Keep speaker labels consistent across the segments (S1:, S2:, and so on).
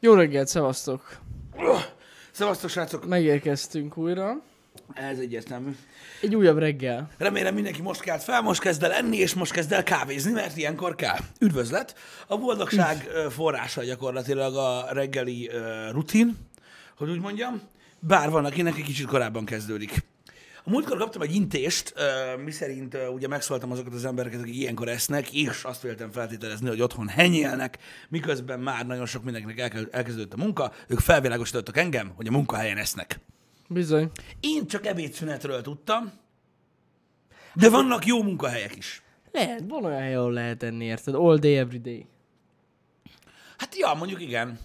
S1: Jó reggelt, szevasztok!
S2: Szevasztok, srácok!
S1: Megérkeztünk újra.
S2: Ez egyértelmű.
S1: Egy újabb reggel.
S2: Remélem mindenki most kelt fel, most kezd el enni, és most kezd el kávézni, mert ilyenkor kell. Üdvözlet! A boldogság ö, forrása gyakorlatilag a reggeli ö, rutin, hogy úgy mondjam, bár van, akinek egy kicsit korábban kezdődik. A múltkor kaptam egy intést, ö, miszerint ö, ugye megszóltam azokat az embereket, akik ilyenkor esznek, és azt véltem feltételezni, hogy otthon henyélnek, miközben már nagyon sok mindenkinek elke- elkezdődött a munka, ők felvilágosítottak engem, hogy a munkahelyen esznek.
S1: Bizony.
S2: Én csak ebédszünetről tudtam, de vannak jó munkahelyek is.
S1: Lehet, van olyan hely, ahol lehet enni, érted? All day, every day.
S2: Hát ja, mondjuk igen.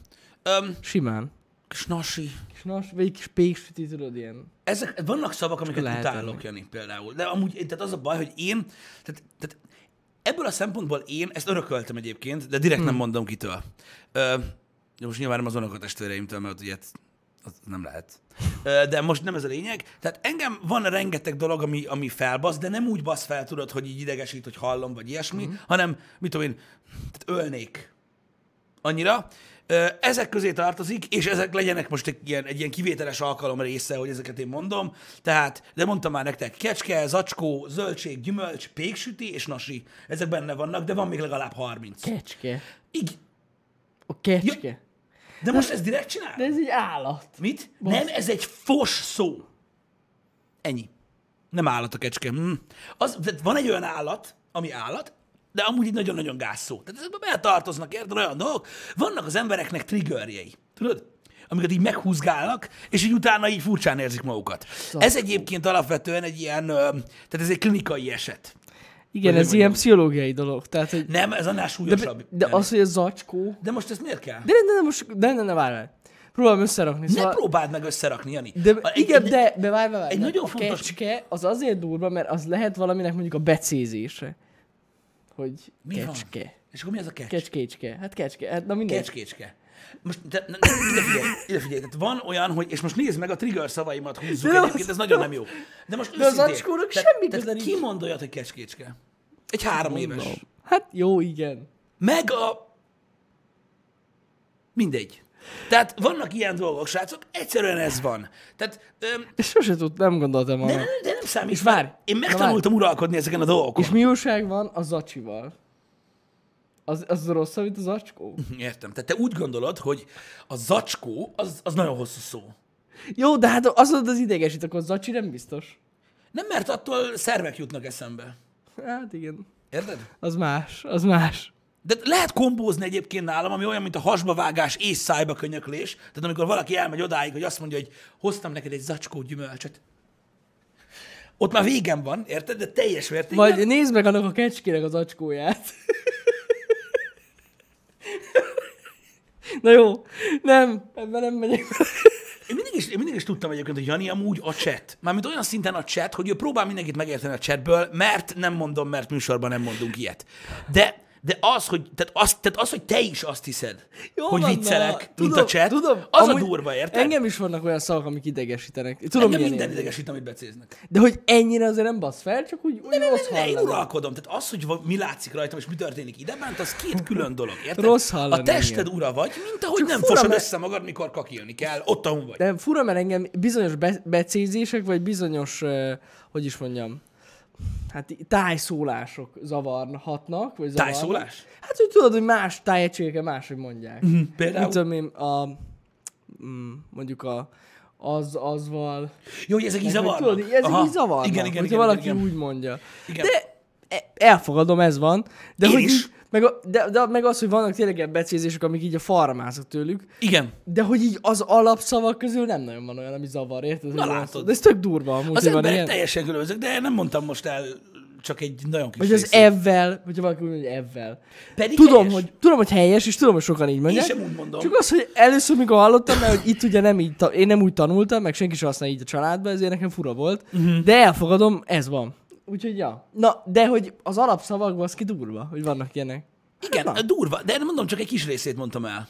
S2: Öm,
S1: Simán.
S2: snasi.
S1: Kis nas, vagy egy kis péksüti, tudod, ilyen.
S2: Ezek, vannak szavak, amiket
S1: Lehet
S2: utálok,
S1: enni.
S2: Jani, például. De amúgy, tehát az a baj, hogy én, tehát, tehát ebből a szempontból én, ezt örököltem egyébként, de direkt hmm. nem mondom kitől. Ö, de most nyilván nem az unokatestvéreimtől, mert ugye az nem lehet. Ö, De most nem ez a lényeg. Tehát engem van rengeteg dolog, ami, ami felbasz, de nem úgy basz fel, tudod, hogy így idegesít, hogy hallom, vagy ilyesmi, mm. hanem, mit tudom én, tehát ölnék. annyira. Ö, Ezek közé tartozik, és ezek legyenek most egy ilyen, egy ilyen kivételes alkalom része, hogy ezeket én mondom. Tehát, de mondtam már nektek, kecske, zacskó, zöldség, gyümölcs, péksüti és nasi. Ezek benne vannak, de van még legalább 30.
S1: Kecske.
S2: Így,
S1: A kecske.
S2: de most ezt direkt
S1: De
S2: csinál?
S1: ez egy állat.
S2: Mit? Nem, ez egy fos szó. Ennyi. Nem állat a kecske. Hm. Az, tehát van egy olyan állat, ami állat, de amúgy egy nagyon-nagyon gáz szó. Tehát ezekbe beletartoznak, érted, olyan dolgok. Vannak az embereknek triggerjei, tudod? amiket így meghúzgálnak, és így utána így furcsán érzik magukat. Ez egyébként alapvetően egy ilyen, ö, tehát ez egy klinikai eset.
S1: Igen,
S2: Vagy
S1: ez
S2: hogy
S1: ilyen pszichológiai dolog. Tehát, hogy...
S2: Nem, ez annál
S1: De,
S2: súlyosabb.
S1: de
S2: Nem.
S1: az, hogy a zacskó...
S2: de most ezt miért kell?
S1: De ne, ne, ne, most... De ne, ne, várj, várj. Próbálom összerakni. szóval-
S2: ne próbáld meg összerakni, Jani.
S1: De
S2: A- egy-
S1: igen,
S2: egy-
S1: de, de várj, várj,
S2: egy
S1: de
S2: nagyon
S1: a
S2: fontos-
S1: kecske az azért durva, mert az lehet valaminek mondjuk a becézése. Hogy
S2: Mi van?
S1: kecske.
S2: És akkor mi az a kecske?
S1: Kecskécske. Hát kecske. Hát na mindegy. Kecske.
S2: Kecskécske. Most te, ne, ne, ide figyelj, ide figyelj. Tehát van olyan, hogy, és most nézd meg, a trigger szavaimat húzzuk
S1: De
S2: de
S1: az-
S2: egyébként, ez nagyon nem jó. De most
S1: De az
S2: őszintén,
S1: acskónak
S2: tehát-
S1: semmi
S2: tehát
S1: köze nincs.
S2: Ki mond olyat, hogy kecskécske? Egy három éves.
S1: Hát jó, igen.
S2: Meg a... Mindegy. Tehát vannak ilyen dolgok, srácok, egyszerűen ez van. Tehát, öm,
S1: De sose tud, nem gondoltam
S2: de,
S1: arra.
S2: nem- de nem számít.
S1: És várj,
S2: mert Én
S1: na
S2: megtanultam uralkodni ezeken a dolgokon.
S1: És mi újság van a zacsival? Az, az rossz, mint az acskó?
S2: Értem. Tehát te úgy gondolod, hogy a zacskó, az, az nagyon hosszú szó.
S1: Jó, de hát az az idegesít, akkor a zacsi nem biztos.
S2: Nem, mert attól szervek jutnak eszembe.
S1: Hát igen.
S2: Érted?
S1: Az más, az más.
S2: De lehet kombózni egyébként nálam, ami olyan, mint a hasbavágás és szájba könyöklés. Tehát amikor valaki elmegy odáig, hogy azt mondja, hogy hoztam neked egy zacskó gyümölcsöt. Ott már végem van, érted? De teljes mértékben.
S1: Majd nézd meg annak a kecskének az acskóját. Na jó, nem, ebben nem megyek.
S2: Én mindig, is, én mindig is tudtam egyébként, hogy Jani amúgy a chat. Mármint olyan szinten a chat, hogy ő próbál mindenkit megérteni a chatből, mert nem mondom, mert műsorban nem mondunk ilyet. De, de az, hogy, tehát az, tehát az, hogy te is azt hiszed,
S1: Jó
S2: hogy
S1: van,
S2: viccelek,
S1: na,
S2: mint a chat, az a durva, érted? Engem,
S1: Engem is vannak olyan szavak, amik idegesítenek. Tudom,
S2: engem
S1: milyen
S2: minden
S1: érzés.
S2: idegesít, amit becéznek.
S1: De hogy ennyire azért nem basz fel, csak úgy, úgy rossz
S2: Ne, én
S1: hallani.
S2: uralkodom. Tehát az, hogy va- mi látszik rajtam, és mi történik ide bent, az két külön dolog, érted?
S1: Rossz hallani,
S2: A tested ura vagy, mint ahogy
S1: Csak
S2: nem
S1: fura,
S2: fosod
S1: mert-
S2: össze magad, mikor kakilni kell, ott, ahol vagy.
S1: De fura, mert engem bizonyos be- becézések, vagy bizonyos, ö, hogy is mondjam, hát í- tájszólások zavarhatnak, vagy zavarnak.
S2: Tájszólás? Mhm. Hm,
S1: Hát, hogy tudod, hogy más tájegységeken máshogy mondják. Mm-hmm. Mit
S2: Például,
S1: tudom én, a, mm, mondjuk a, az, azval.
S2: jó, hogy ezek így
S1: Tudod,
S2: zavarnak.
S1: így- ezek
S2: Aha.
S1: így zavarnak,
S2: Igen, igen,
S1: hogyha
S2: igen,
S1: valaki
S2: igen.
S1: úgy mondja.
S2: Igen.
S1: De e- elfogadom, ez van. De,
S2: Én
S1: hogy
S2: is.
S1: Így, meg, a, de, de, meg az, hogy vannak tényleg ilyen becézések, amik így a farmázok tőlük,
S2: igen.
S1: de hogy így az alapszavak közül nem nagyon van olyan, ami zavar, érted? Hogy olyan
S2: látod.
S1: szó- De ez tök durva amúgy, hogy
S2: Az
S1: van
S2: emberek
S1: ilyen.
S2: teljesen különbözők, de nem mondtam most el csak egy nagyon kis
S1: Vagy az
S2: részét.
S1: evvel, hogyha valaki úgy mondja, hogy evvel.
S2: Pedig
S1: Tudom
S2: helyes.
S1: hogy, tudom, hogy helyes, és tudom, hogy sokan így
S2: Én
S1: mondják.
S2: sem úgy mondom.
S1: Csak az, hogy először, mikor hallottam, mert hogy itt ugye nem így, ta- én nem úgy tanultam, meg senki sem használja így a családban, ezért nekem fura volt. Uh-huh.
S2: Mhm.
S1: De elfogadom, ez van. Úgyhogy ja. Na, de hogy az alapszavakban az ki durva, hogy vannak ilyenek.
S2: Igen, durva, de mondom, csak egy kis részét mondtam el.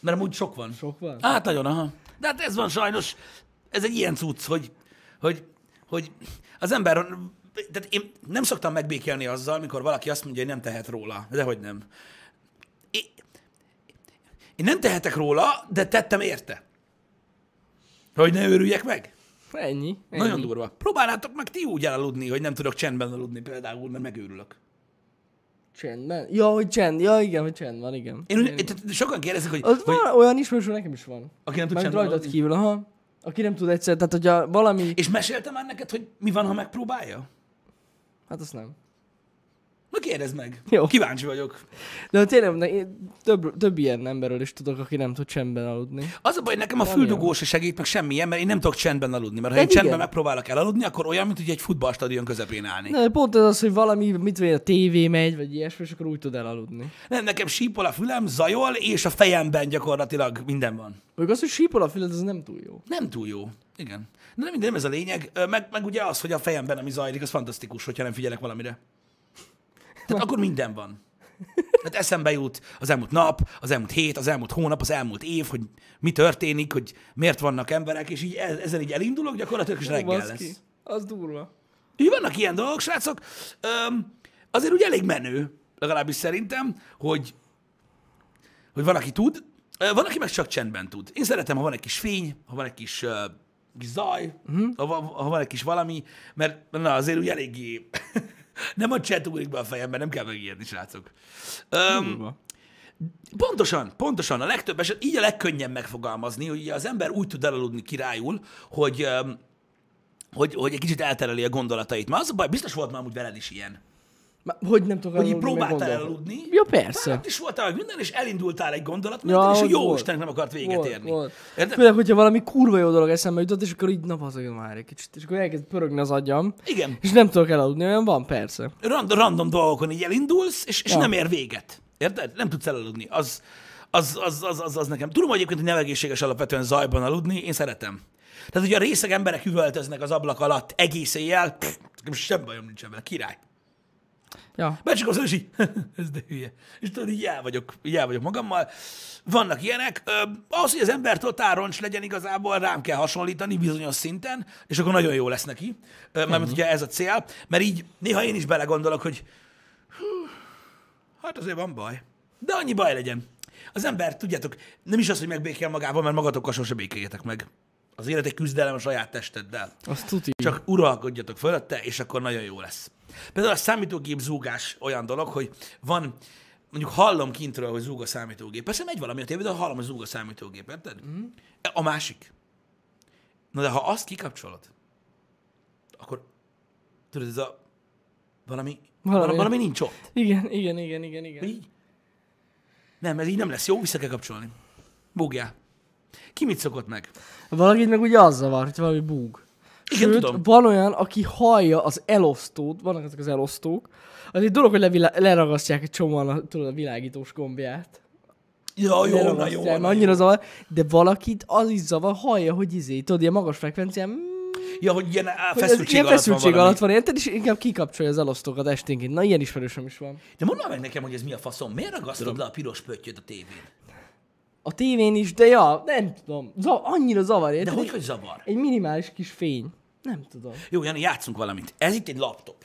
S2: Mert amúgy sok van.
S1: Sok van.
S2: Hát nagyon, aha. De hát ez van sajnos, ez egy ilyen cucc, hogy, hogy, hogy az ember, tehát én nem szoktam megbékelni azzal, mikor valaki azt mondja, hogy nem tehet róla. Dehogy nem. É- Én nem tehetek róla, de tettem érte. Hogy ne őrüljek meg.
S1: Ennyi. ennyi.
S2: Nagyon durva. Próbálnátok meg ti úgy elaludni, hogy nem tudok csendben aludni például, mert megőrülök.
S1: Csendben. Ja, hogy csend. Ja, igen, hogy csend van, igen.
S2: Én, úgy- tehát sokan kérdezik, hogy,
S1: Az
S2: hogy
S1: van, olyan ismerősöm nekem is van.
S2: aki nem tud
S1: Meg
S2: csendben
S1: rajtad
S2: aludni.
S1: kívül, aha. Aki nem tud egyszer, tehát hogyha valami...
S2: És meséltem már neked, hogy mi van, ha megpróbálja?
S1: Hát azt nem.
S2: Na kérdezd meg.
S1: Jó.
S2: Kíváncsi vagyok.
S1: De tényleg ne, én több, több ilyen emberről is tudok, aki nem tud csendben aludni.
S2: Az a baj, nekem a
S1: Van
S2: füldugó se segít, meg semmilyen, mert én nem tudok csendben aludni. Mert ha
S1: De
S2: én csendben
S1: igen.
S2: megpróbálok elaludni, akkor olyan, mint hogy egy futballstadion közepén állni.
S1: Na, de pont ez az, hogy valami, mit vagy a tévé megy, vagy ilyesmi, és akkor úgy tud elaludni.
S2: Nem, nekem sípol a fülem, zajol, és a fejemben gyakorlatilag minden van.
S1: Vagy az, hogy sípol a füled, az nem túl jó.
S2: Nem túl jó. Igen. De nem minden, nem ez a lényeg. Ö, Meg, meg ugye az, hogy a fejemben, ami zajlik, az fantasztikus, hogyha nem figyelek valamire. Tehát akkor minden van. Hát eszembe jut az elmúlt nap, az elmúlt hét, az elmúlt hónap, az elmúlt év, hogy mi történik, hogy miért vannak emberek, és így ez- ezen így elindulok, gyakorlatilag is
S1: Ó,
S2: reggel
S1: baszki.
S2: lesz.
S1: Az durva.
S2: Így vannak ilyen dolgok, srácok. Öm, azért úgy elég menő, legalábbis szerintem, hogy, hogy van, aki tud, Ö, van, aki meg csak csendben tud. Én szeretem, ha van egy kis fény, ha van egy kis, uh, kis zaj, uh-huh. ha, van, ha van egy kis valami, mert na, azért úgy eléggé... nem a chat ugrik be a fejembe, nem kell megijedni, srácok. Öm,
S1: Durva.
S2: Pontosan, pontosan. A legtöbb eset így a legkönnyebb megfogalmazni, hogy ugye az ember úgy tud elaludni királyul, hogy, öm, hogy, hogy egy kicsit eltereli a gondolatait. Már az a baj, biztos volt már úgy veled is ilyen.
S1: Már, hogy nem tudok
S2: Hogy így
S1: elaludni, meg
S2: próbáltál
S1: gondolkodni.
S2: elaludni. Hát,
S1: Ja, persze.
S2: Fáradt is voltál, meg minden, és elindultál egy gondolat,
S1: Ja,
S2: ja, és a
S1: hogy
S2: jó
S1: volt.
S2: Istennek nem akart véget
S1: Volt,
S2: érni.
S1: volt.
S2: Érted?
S1: Főleg, hogyha valami kurva jó dolog eszembe jutott, és akkor így nap az már egy kicsit, és akkor elkezd pörögni az agyam,
S2: Igen.
S1: és nem tudok elaludni, olyan van, persze.
S2: Rand, random dolgokon így elindulsz, és, és
S1: Ja.
S2: nem ér véget. Érted? Nem tudsz elaludni. Az, az, az, az, az, az nekem. Tudom egyébként, hogy nem egészséges alapvetően zajban aludni, én szeretem. Tehát, hogy a részeg emberek üvöltöznek az ablak alatt egész éjjel, pff, nekem sem bajom nincs vele, király.
S1: Ja.
S2: Becsuk az így, ez de hülye. És tudod, így el vagyok, így el vagyok magammal. Vannak ilyenek. Ö, ahhoz, hogy az ember totálroncs legyen igazából, rám kell hasonlítani bizonyos szinten, és akkor nagyon jó lesz neki. Ö, Mármint ugye ez a cél, mert így néha én is belegondolok, hogy hú, hát azért van baj. De annyi baj legyen. Az ember, tudjátok, nem is az, hogy megbékél magával, mert magatokkal sose békéljetek meg. Az élet egy küzdelem a saját testeddel.
S1: Azt tuti.
S2: Csak uralkodjatok fölötte, és akkor nagyon jó lesz. Például a számítógép zúgás olyan dolog, hogy van, mondjuk hallom kintről, hogy zúg a számítógép. Persze megy valami a tévé, de hallom, hogy zúg a számítógép, érted?
S1: Mhm.
S2: Mm. A másik. Na de ha azt kikapcsolod, akkor tudod, ez a valami, valami,
S1: Valami.
S2: valami nincs ott.
S1: Igen, igen, igen, igen, igen.
S2: Így? Nem, ez így nem lesz jó, vissza kell kapcsolni. Búgjál. Ki mit szokott meg?
S1: Valakit meg ugye az zavar, hogy valami búg.
S2: Igen,
S1: Sőt,
S2: tudom.
S1: Hm? van olyan, aki hallja az elosztót, vannak ezek az elosztók, az egy dolog, hogy levilá- leragasztják egy csomóan a, tudod, a világítós gombját.
S2: Ja, jó, na jó,
S1: Leragasztják,
S2: na
S1: mert
S2: jó.
S1: annyira zavar, de valakit az is zavar, hallja, hogy izé, tudod, ilyen magas frekvencián, mm,
S2: Ja, hogy ilyen á,
S1: hogy ez
S2: feszültség,
S1: ilyen feszültség
S2: alatt van
S1: alatt
S2: valami.
S1: van, érted? És inkább kikapcsolja az elosztókat esténként. Na, ilyen ismerősöm is van.
S2: De mondd már meg nekem, hogy ez mi a faszom. Miért ragasztod le a piros pöttyöt a tévén?
S1: A tévén is, de ja, nem tudom. Zav- annyira zavar,
S2: De
S1: érted?
S2: hogy, hogy zavar?
S1: Egy minimális kis fény. Nem tudom.
S2: Jó, Jani, játszunk valamit. Ez itt egy laptop.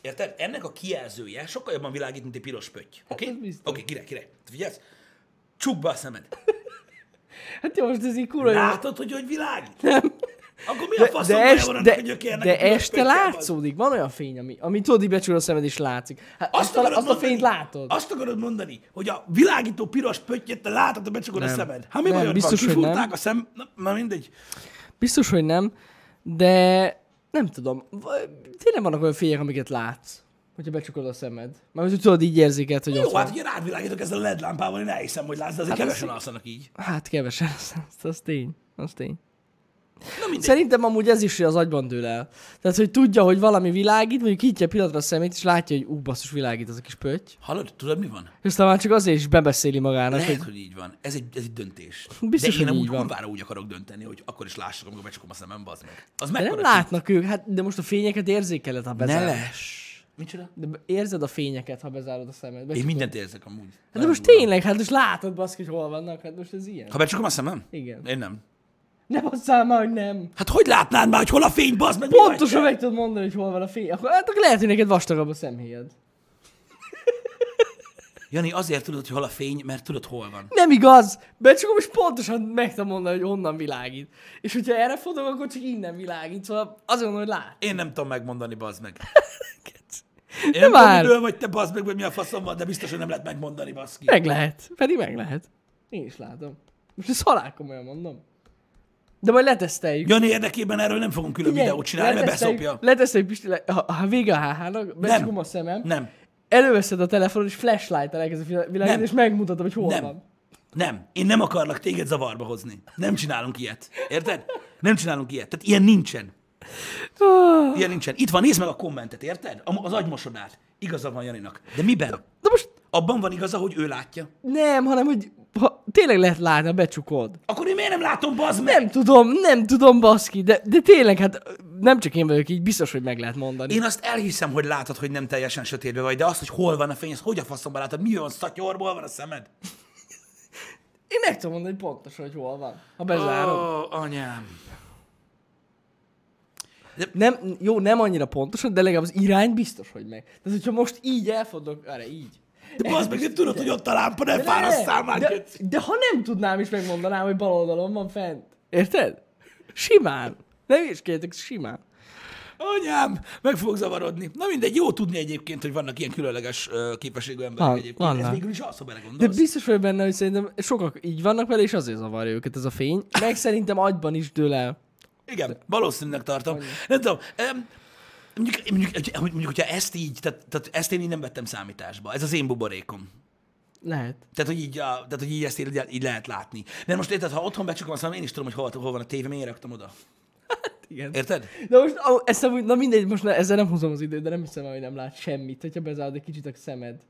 S2: Érted? Ennek a kijelzője sokkal jobban világít, mint egy piros pötty. Oké?
S1: Hát ez
S2: Oké,
S1: biztos.
S2: okay, király, király. Figyelsz? Csukd be a szemed.
S1: Hát jó, most ez így kurva jó.
S2: Látod, hogy hogy világít? Nem. Akkor mi a
S1: De,
S2: faszom
S1: de,
S2: baj
S1: est,
S2: van
S1: de,
S2: ennek a gyökérnek a
S1: de
S2: piros
S1: este
S2: pöttyel, az?
S1: látszódik, van olyan fény, ami, ami tudod, így becsül a szemed és látszik. Hát azt, a,
S2: akarod
S1: azt a fényt
S2: mondani-
S1: látod.
S2: Azt akarod mondani, hogy a világító piros pöttyöt te látod, hogy becsukod a
S1: Nem.
S2: szemed. Hát mi
S1: Nem,
S2: bajod
S1: biztos,
S2: van?
S1: hogy
S2: Kifúrták
S1: nem.
S2: a szem... Na, na mindegy.
S1: Biztos, hogy nem, de nem tudom. V- Tényleg vannak olyan fények, amiket látsz, hogyha becsukod a szemed. Mert hogy tudod, így érzéket, hogy ott
S2: Jó,
S1: van.
S2: hát ugye rád világítok ezzel a LED lámpával, én elhiszem, hogy látsz, de azért
S1: Hát
S2: kevesen
S1: az-
S2: alszanak így.
S1: Hát kevesen, az, az, az tény. Az tény.
S2: Na mindegy.
S1: Szerintem amúgy ez is az agyban dől el. Tehát, hogy tudja, hogy valami világít, mondjuk kinyitja pillanatra a szemét, és látja, hogy ú, basszus, világít az a kis pötty.
S2: Hallod, tudod mi van?
S1: És aztán már csak azért is bebeszéli magának,
S2: Lehet,
S1: Hát, hogy
S2: hogy így van. Ez egy, ez egy döntés.
S1: Biztos,
S2: de én
S1: hogy
S2: úgy
S1: így van.
S2: kurvára úgy akarok dönteni, hogy akkor is lássuk, amikor becsukom a szemem, bazd meg. Az
S1: de
S2: mekkora
S1: nem látnak ők, hát, de most a fényeket érzékeled, ha bezárod.
S2: Neles. Micsoda?
S1: De be- érzed a fényeket, ha bezárod a szemed. Be-
S2: Én mindent érzek amúgy.
S1: hát de most tényleg, hát most látod baszki, hogy hol vannak, hát most ez ilyen.
S2: Ha becsukom a szemem?
S1: Igen.
S2: Én nem.
S1: Ne basszál már, hogy nem.
S2: Hát hogy látnád már, hogy hol a fény, bazd meg? mi vagy?
S1: Pontosan meg tudod mondani, hogy hol van a fény. Akkor, hát akkor lehet, hogy neked vastagabb a szemhéjad.
S2: Jani, azért tudod, hogy hol a fény, mert tudod, hol van.
S1: Nem igaz! Becsukom, és pontosan meg tudom mondani, hogy honnan világít. És hogyha erre fotom, akkor csak innen világít, szóval azon, hogy lát.
S2: Én nem tudom megmondani, bazd meg. Én
S1: De
S2: nem tudom,
S1: már,
S2: miből vagy te, bazd meg, vagy mi a faszom van, de biztos, hogy nem lehet megmondani, bazd ki.
S1: meg lehet. Pedig meg lehet. Én is látom. Most ezt halál komolyan mondom. De majd leteszteljük.
S2: Jani érdekében erről nem fogunk külön
S1: Figyelj,
S2: videót csinálni, mert
S1: leteszteljük-
S2: beszopja.
S1: Leteszteljük, Pisti, le, ha, ha vége a HH-nak, becsukom a szemem,
S2: Nem,
S1: előveszed a telefonod, és flashlight-tel elkezded
S2: Nem.
S1: világítani, és megmutatom, hogy hol
S2: Nem.
S1: van.
S2: nem. Én nem akarlak téged zavarba hozni. Nem csinálunk ilyet. Érted? Nem csinálunk ilyet. Tehát ilyen nincsen.
S1: Ah.
S2: Ilyen nincsen. Itt van, nézd meg a kommentet, érted? A- Az agymosodát. Igaza van Janinak. De miben?
S1: De most
S2: Abban van igaza, hogy ő látja.
S1: nem, hanem, hogy ha tényleg lehet látni, ha becsukod.
S2: Akkor én miért nem látom, bazd meg?
S1: Nem tudom, nem tudom, baszki, de, de tényleg, hát nem csak én vagyok így, biztos, hogy meg lehet mondani.
S2: Én azt elhiszem, hogy látod, hogy nem teljesen sötétbe vagy, de azt, hogy hol van a fény, azt hogy a faszomba látod? Mi olyan szatyorból van a szemed?
S1: Én meg tudom mondani pontosan, hogy hol van, ha bezárom.
S2: Ó, anyám.
S1: Nem, jó, nem annyira pontosan, de legalább az irány biztos, hogy meg. Tehát, hogyha most így elfordulok, arra így.
S2: De bazd meg, nem tudod, hogy ott a lámpa, nem fárasztál már.
S1: de,
S2: köcs.
S1: de, ha nem tudnám, is megmondanám, hogy bal oldalon van fent. Érted? Simán. Nem is kértek, simán.
S2: Anyám, meg fog zavarodni. Na mindegy, jó tudni egyébként, hogy vannak ilyen különleges ö, képességű emberek
S1: Van-
S2: egyébként. Ez
S1: vannak.
S2: végül is az, ha
S1: De
S2: belegondolsz.
S1: biztos vagyok benne, hogy szerintem sokak így vannak vele, és azért zavarja őket ez a fény. Meg szerintem agyban is dől el.
S2: Igen, valószínűleg tartom. Nem tudom. em, Mondjuk, mondjuk, hogy- hogy- mondjuk, hogyha ezt így, tehát, tehát ezt én így nem vettem számításba. Ez az én buborékom.
S1: Lehet.
S2: Tehát, hogy így, a, tehát, hogy így ezt így, így lehet látni. Mert most érted, ha otthon becsukom a szemem, én is tudom, hogy hol, hol van a tévé, miért raktam oda.
S1: Igen.
S2: Érted?
S1: Na most, au, ezt amúgy, na mindegy, most ne, ezzel nem húzom az időt, de nem hiszem, el, hogy nem lát semmit, hogyha bezárod egy kicsit a szemed.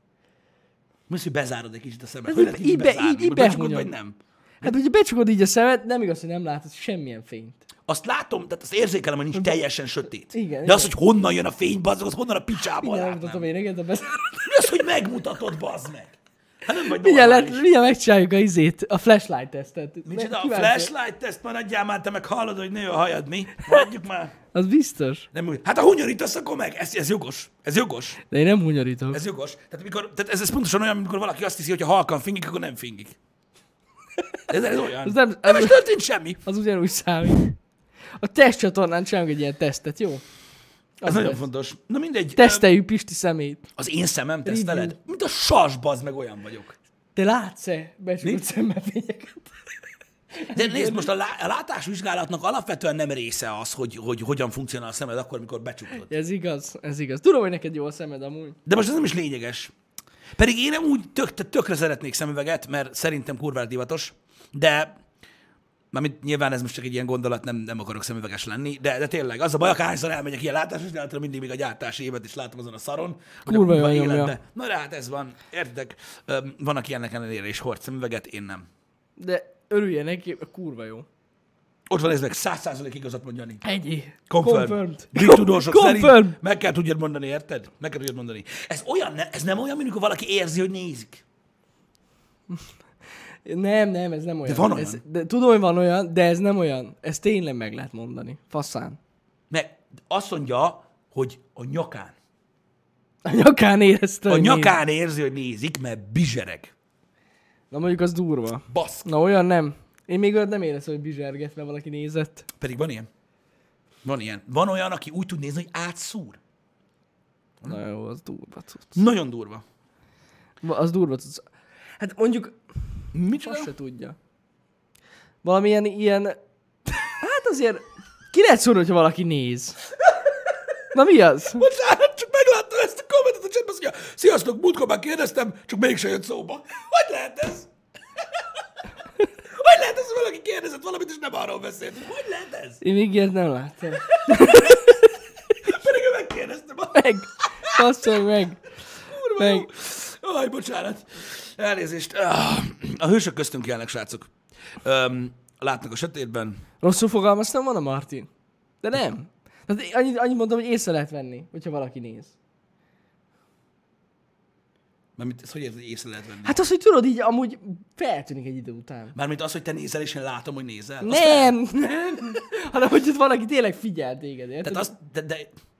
S2: Most, hogy bezárod egy kicsit a szemed.
S1: Ez
S2: Hogy
S1: így-
S2: lehet így
S1: így be-
S2: bezárni?
S1: így- így
S2: Hogy becsukod,
S1: behunyod.
S2: vagy nem?
S1: Hát, hogyha becsukod így a szemed, nem igaz, hogy nem látod semmilyen fényt.
S2: Azt látom, tehát azt érzékelem, hogy nincs teljesen sötét.
S1: Mhm. Igen,
S2: De
S1: igen.
S2: az, hogy honnan jön a fény, bazzog, az honnan a picsából
S1: Mindjárt
S2: látnám.
S1: megmutatom én neked, a bezárod.
S2: Mi az, hogy megmutatod, bazd meg? Hát nem vagy
S1: Mindjárt,
S2: normális.
S1: lehet, mindjárt megcsináljuk a izét, a flashlight tesztet.
S2: Micsoda, a
S1: Kíváncsi-
S2: flashlight teszt maradjál már, te meg hallod, hogy nő a hajad, mi? Mondjuk már.
S1: Az biztos.
S2: Nem úgy. Hát ha hunyorítasz, akkor meg. Ez, ez jogos. Ez jogos.
S1: De én nem hunyorítok. Ez...
S2: Ez jogos. Tehát, mikor, tehát ez, ez pontosan olyan, amikor valaki azt hiszi, hogy ha halkan fingik, akkor nem fingik. Ez, ez olyan.
S1: Ez
S2: nem,
S1: nem-
S2: nem
S1: ez-
S2: is történt semmi.
S1: Az ugyanúgy számít. A testcsatornán csinálunk egy ilyen tesztet, jó?
S2: Ez nagyon
S1: lesz.
S2: fontos. Na mindegy.
S1: Teszteljük Pisti szemét.
S2: Az én szemem teszteled?
S1: Review.
S2: Mint a sas, bazd meg olyan vagyok.
S1: Te látsz-e becsukott
S2: Mi?
S1: szemmel fényeket?
S2: De nézd, most a, lá- a látásvizsgálatnak alapvetően nem része az, hogy, hogy hogyan funkcionál a szemed akkor, amikor becsukod.
S1: Ez igaz, ez igaz. Tudom, hogy neked jó a szemed amúgy.
S2: De most ez nem is lényeges. Pedig én nem úgy tök, tehát tökre szeretnék szemüveget, mert szerintem kurvára divatos, de mármint nyilván ez most csak egy ilyen gondolat, nem, nem akarok szemüveges lenni, de, de tényleg az a baj, akárhányszor elmegyek ilyen látásvizsgálatra, mindig még a gyártási évet is látom azon a szaron. hogy a
S1: Kurva
S2: kurva
S1: jól nyomja.
S2: életbe. Na de hát ez van, értek. Vannak ilyenek ellenére is hord szemüveget, én nem.
S1: De örülje neki, kurva jó.
S2: Ott van ez meg, száz százalék igazat mondani.
S1: Ennyi.
S2: Confirmed.
S1: Confirmed.
S2: Brit tudósok
S1: Confirm.
S2: szerint meg kell tudjad mondani, érted? Meg kell tudjad mondani. Ez, olyan, ne- ez nem olyan, mint amikor valaki érzi, hogy nézik.
S1: Nem, nem, ez nem olyan.
S2: van olyan.
S1: Ez, de, tudom, hogy van olyan, de ez nem olyan. Ez tényleg meg lehet mondani. Faszán.
S2: Meg azt mondja, hogy a nyakán.
S1: A nyakán érezte.
S2: A
S1: hogy néz.
S2: nyakán érzi, hogy nézik, mert bizsereg.
S1: Na mondjuk az durva.
S2: Baszk.
S1: Na olyan nem. Én még olyat nem éreztem, hogy bizserget, mert valaki nézett.
S2: Pedig van ilyen. Van ilyen. Van olyan, aki úgy tud nézni, hogy átszúr.
S1: Na jó, az durva cucc.
S2: Nagyon durva.
S1: Va- Az durva cucc. Hát mondjuk
S2: Micsoda?
S1: azt se tudja. Valamilyen ilyen... Hát azért ki lehet szúrni, hogyha valaki néz. Na mi az?
S2: Bocsánat, csak megláttam ezt a kommentet a csetben, azt mondja, sziasztok, múltkor már kérdeztem, csak mégsem jött szóba. Hogy lehet ez? Hogy lehet ez, hogy valaki kérdezett valamit, és nem arról beszélt? Hogy lehet ez?
S1: Én még ilyet nem láttam.
S2: Pedig ő megkérdezte ma.
S1: Meg! Basszolj meg!
S2: Kurva
S1: Meg.
S2: jó. Aj, bocsánat. Elnézést. Ah, A hősök köztünk élnek, srácok. Öm, látnak a sötétben.
S1: Rosszul fogalmaztam volna, Martin? De nem. Tehát én annyit, annyit mondtam, hogy észre lehet venni, hogyha valaki néz.
S2: Mármint ezt hogy érted, hogy észre lehet venni?
S1: Hát az, hogy tudod, így amúgy feltűnik egy idő után.
S2: Mármint az, hogy te nézel, és én látom, hogy nézel. Azt
S1: Nem! Hanem, hogy ott valaki tényleg figyel téged, érted?
S2: Tehát az, de, de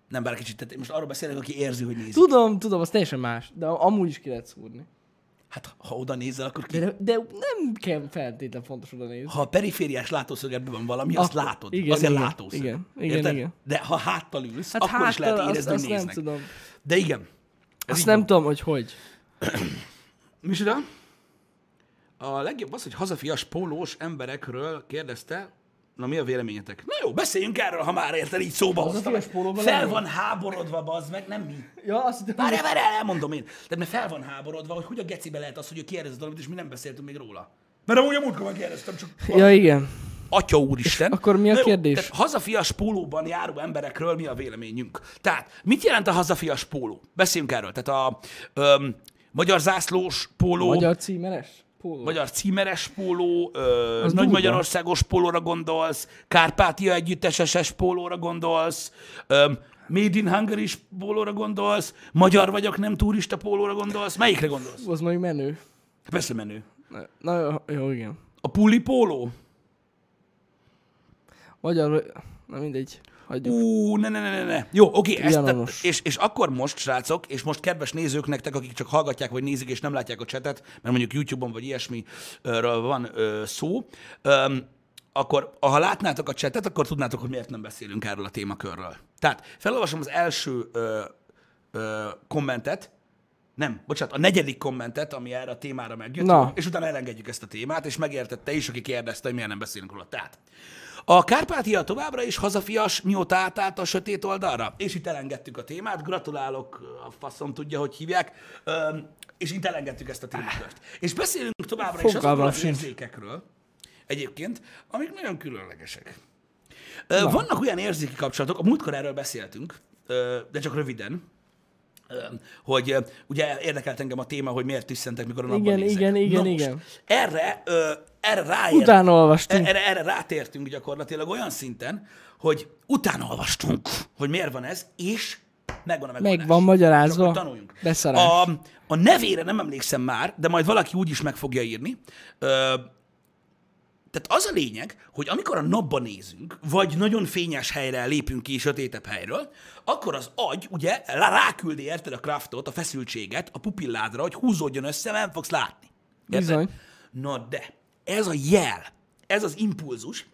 S2: nem bár kicsit, tehát én most arról beszélek, aki érzi, hogy nézi.
S1: Tudom, tudom, az teljesen más, de amúgy is ki lehet szúrni.
S2: Hát ha oda nézel, akkor ki...
S1: De, de nem kell feltétlen fontos oda nézni.
S2: Ha a perifériás látószögerben van valami, azt
S1: Akkor-
S2: látod.
S1: igen,
S2: Azért
S1: igen,
S2: látószög.
S1: igen, igen,
S2: Érted?
S1: igen.
S2: De ha háttal ülsz,
S1: Hát
S2: akkor is
S1: háttal
S2: lehet érezni,
S1: azt-
S2: hogy
S1: azt nem
S2: néznek.
S1: tudom.
S2: De igen. Ez
S1: Azt
S2: így
S1: nem
S2: van.
S1: tudom, hogy hogy.
S2: Micsoda? A legjobb az, hogy hazafias pólós emberekről kérdezte, na mi a véleményetek? Na jó, beszéljünk erről, ha már érted, így szóba hoztam.
S1: Hazafias pólóban
S2: Fel
S1: nem
S2: van háborodva, bazd meg, nem mi.
S1: Ja, azt hittem,
S2: Várjál, várjál, elmondom én. De mert fel van háborodva, hogy hogy a gecibe lehet az, hogy ő kérdezett valamit, és mi nem beszéltünk még róla. Mert amúgy a múltkor megkérdeztem, csak...
S1: Ja, igen.
S2: Atya úristen.
S1: akkor mi a
S2: Na jó,
S1: kérdés?
S2: Tehát hazafias pólóban járó emberekről mi a véleményünk? Tehát mit jelent a hazafias póló? Beszéljünk erről. Tehát a öm, magyar zászlós póló, magyar,
S1: Magyar címeres? Póló.
S2: Oh. magyar címeres póló, ö,
S1: Az
S2: nagy
S1: durva.
S2: magyarországos pólóra gondolsz, Kárpátia együtteses pólóra gondolsz, öm, Made in Hungary pólóra gondolsz, magyar vagyok, nem turista pólóra gondolsz. Melyikre gondolsz?
S1: Az mondjuk menő.
S2: Persze menő.
S1: Na jó, jó igen.
S2: A puli póló?
S1: Magyar, na mindegy. Hagyjuk.
S2: Ú, ne, ne, ne, ne, ne. Jó, oké, ezt te,
S1: Jelenos.
S2: és, és akkor most, srácok, és most kedves nézők nektek, akik csak hallgatják, vagy nézik, és nem látják a csetet, mert mondjuk YouTube-on, vagy ilyesmiről van ö, szó, öm, akkor ha látnátok a csetet, akkor tudnátok, hogy miért nem beszélünk erről a témakörről. Tehát felolvasom az első ö, ö, kommentet, nem, bocsánat, a negyedik kommentet, ami erre a témára megjött,
S1: Na.
S2: és utána elengedjük ezt a témát, és megértette is, aki kérdezte, hogy miért nem beszélünk róla. Tehát, a Kárpátia továbbra is hazafias, mióta átállt a sötét oldalra. És itt elengedtük a témát, gratulálok, a faszom tudja, hogy hívják, Öm, és itt elengedtük ezt a témakört. És beszélünk továbbra is azokról
S1: Fogalmam
S2: az
S1: sincs.
S2: érzékekről, egyébként, amik nagyon különlegesek. Ö, Vannak olyan érzéki kapcsolatok, a múltkor erről beszéltünk, ö, de csak röviden, ö, hogy ö, ugye érdekelt engem a téma, hogy miért tüsszentek, mikor a napban
S1: Igen,
S2: nézek.
S1: igen, igen,
S2: Na most,
S1: igen.
S2: Erre, ö, erre ráért,
S1: Utána olvastunk.
S2: erre, erre rátértünk gyakorlatilag olyan szinten, hogy utána olvastunk, hogy miért van ez, és megvan a megoldás.
S1: Meg van magyarázva.
S2: Csak hogy tanuljunk.
S1: Beszarás.
S2: A, a nevére nem emlékszem már, de majd valaki úgy is meg fogja írni. Ö, tehát az a lényeg, hogy amikor a napba nézünk, vagy nagyon fényes helyre lépünk ki, sötétebb helyről, akkor az agy ugye rá- ráküldi érted a kraftot, a feszültséget a pupilládra, hogy húzódjon össze, mert nem fogsz látni. Érted?
S1: Bizony.
S2: Na de, ez a jel, ez az impulzus,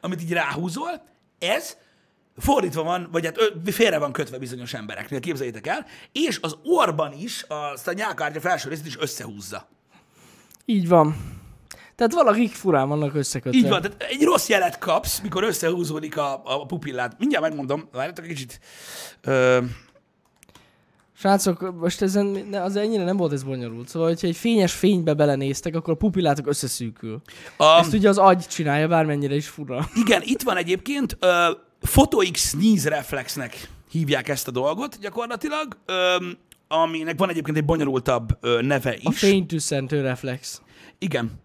S2: amit így ráhúzol, ez fordítva van, vagy hát ö, félre van kötve bizonyos embereknél, képzeljétek el, és az orban is, azt a nyálkártya felső részét is összehúzza.
S1: Így van. Tehát valakik furán vannak összekötve.
S2: Így van, tehát egy rossz jelet kapsz, mikor összehúzódik a, a pupillád. Mindjárt megmondom, várjátok egy kicsit. Ö,
S1: Srácok, most ezen ne- az ennyire nem volt ez bonyolult. Szóval, hogyha egy fényes fénybe belenéztek, akkor a pupillátok
S2: Um,
S1: összeszűkül.
S2: a,
S1: Ezt ugye az agy csinálja, bármennyire is fura.
S2: igen, itt van egyébként ö, Photox sneeze reflexnek hívják ezt a dolgot gyakorlatilag, ö, aminek van egyébként egy bonyolultabb ö, neve is.
S1: A fénytűszentő reflex.
S2: Igen.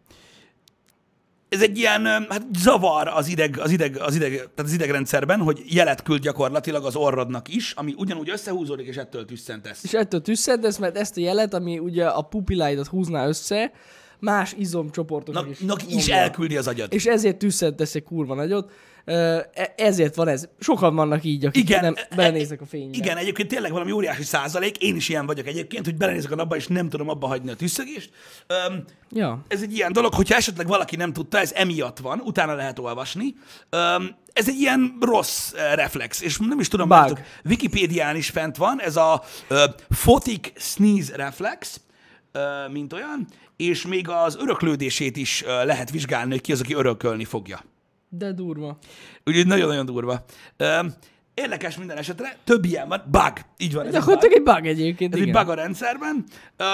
S2: Ez egy ilyen öm, hát zavar az ideg, az, ideg, az, ideg, tehát az idegrendszerben, hogy jelet küld gyakorlatilag az orrodnak is, ami ugyanúgy összehúzódik, és ettől tüsszentesz.
S1: És ettől tüsszentesz, mert ezt a jelet, ami ugye a pupilláidat húzná össze, más izomcsoportoknak is.
S2: Nak is
S1: nyomja.
S2: elküldi az agyad.
S1: És ezért tüsszentesz egy kurva nagyot. Ö, e- Ezért van ez. Sokan vannak így, akik
S2: Igen,
S1: Igen, nem
S2: e-
S1: belenéznek a fénybe.
S2: Igen, egyébként tényleg valami óriási százalék, én is ilyen vagyok egyébként, hogy belenézek a napba, és nem tudom abba hagyni a tüsszögést. Öm,
S1: Ja.
S2: ez egy ilyen dolog, hogyha esetleg valaki nem tudta, ez emiatt van, utána lehet olvasni. Öm, ez egy ilyen rossz eh, reflex, és nem is tudom,
S1: Bug.
S2: látok, Wikipédián is fent van, ez a ö, photic sneeze reflex, ö, mint olyan, és még az öröklődését is ö, lehet vizsgálni, hogy ki az, aki örökölni fogja.
S1: De durva.
S2: Úgyhogy nagyon-nagyon durva. Öm, Érdekes minden esetre, több ilyen van, bug, így van. ez egy bug.
S1: Gyakorlatilag egy bug egyébként.
S2: Ez egy
S1: igen.
S2: bug a rendszerben.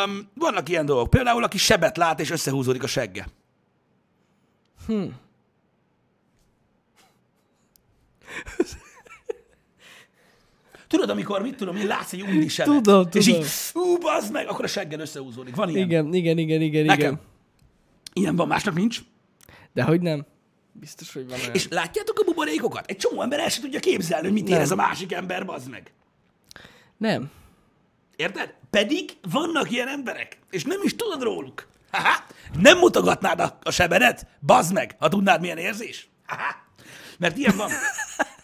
S2: Um, vannak ilyen dolgok. Például, aki sebet lát, és összehúzódik a segge.
S1: Hm.
S2: Tudod, amikor, mit tudom, én látsz egy undi sebet,
S1: Tudom,
S2: és
S1: tudom.
S2: így, ú, bazd meg, akkor a segged összehúzódik. Van ilyen. Igen,
S1: Igen, igen, igen, igen,
S2: Nekem.
S1: igen.
S2: Ilyen van, másnak nincs.
S1: De hogy nem? Biztos, hogy van olyan.
S2: És látjátok a buborékokat? Egy csomó ember el sem tudja képzelni, hogy mit
S1: Nem.
S2: érez a másik ember, bazd meg.
S1: Nem.
S2: Érted? Pedig vannak ilyen emberek, és nem is tudod róluk. Haha, nem mutogatnád a, a sebedet? Bazd meg, ha tudnád, milyen érzés. Haha. Mert ilyen van.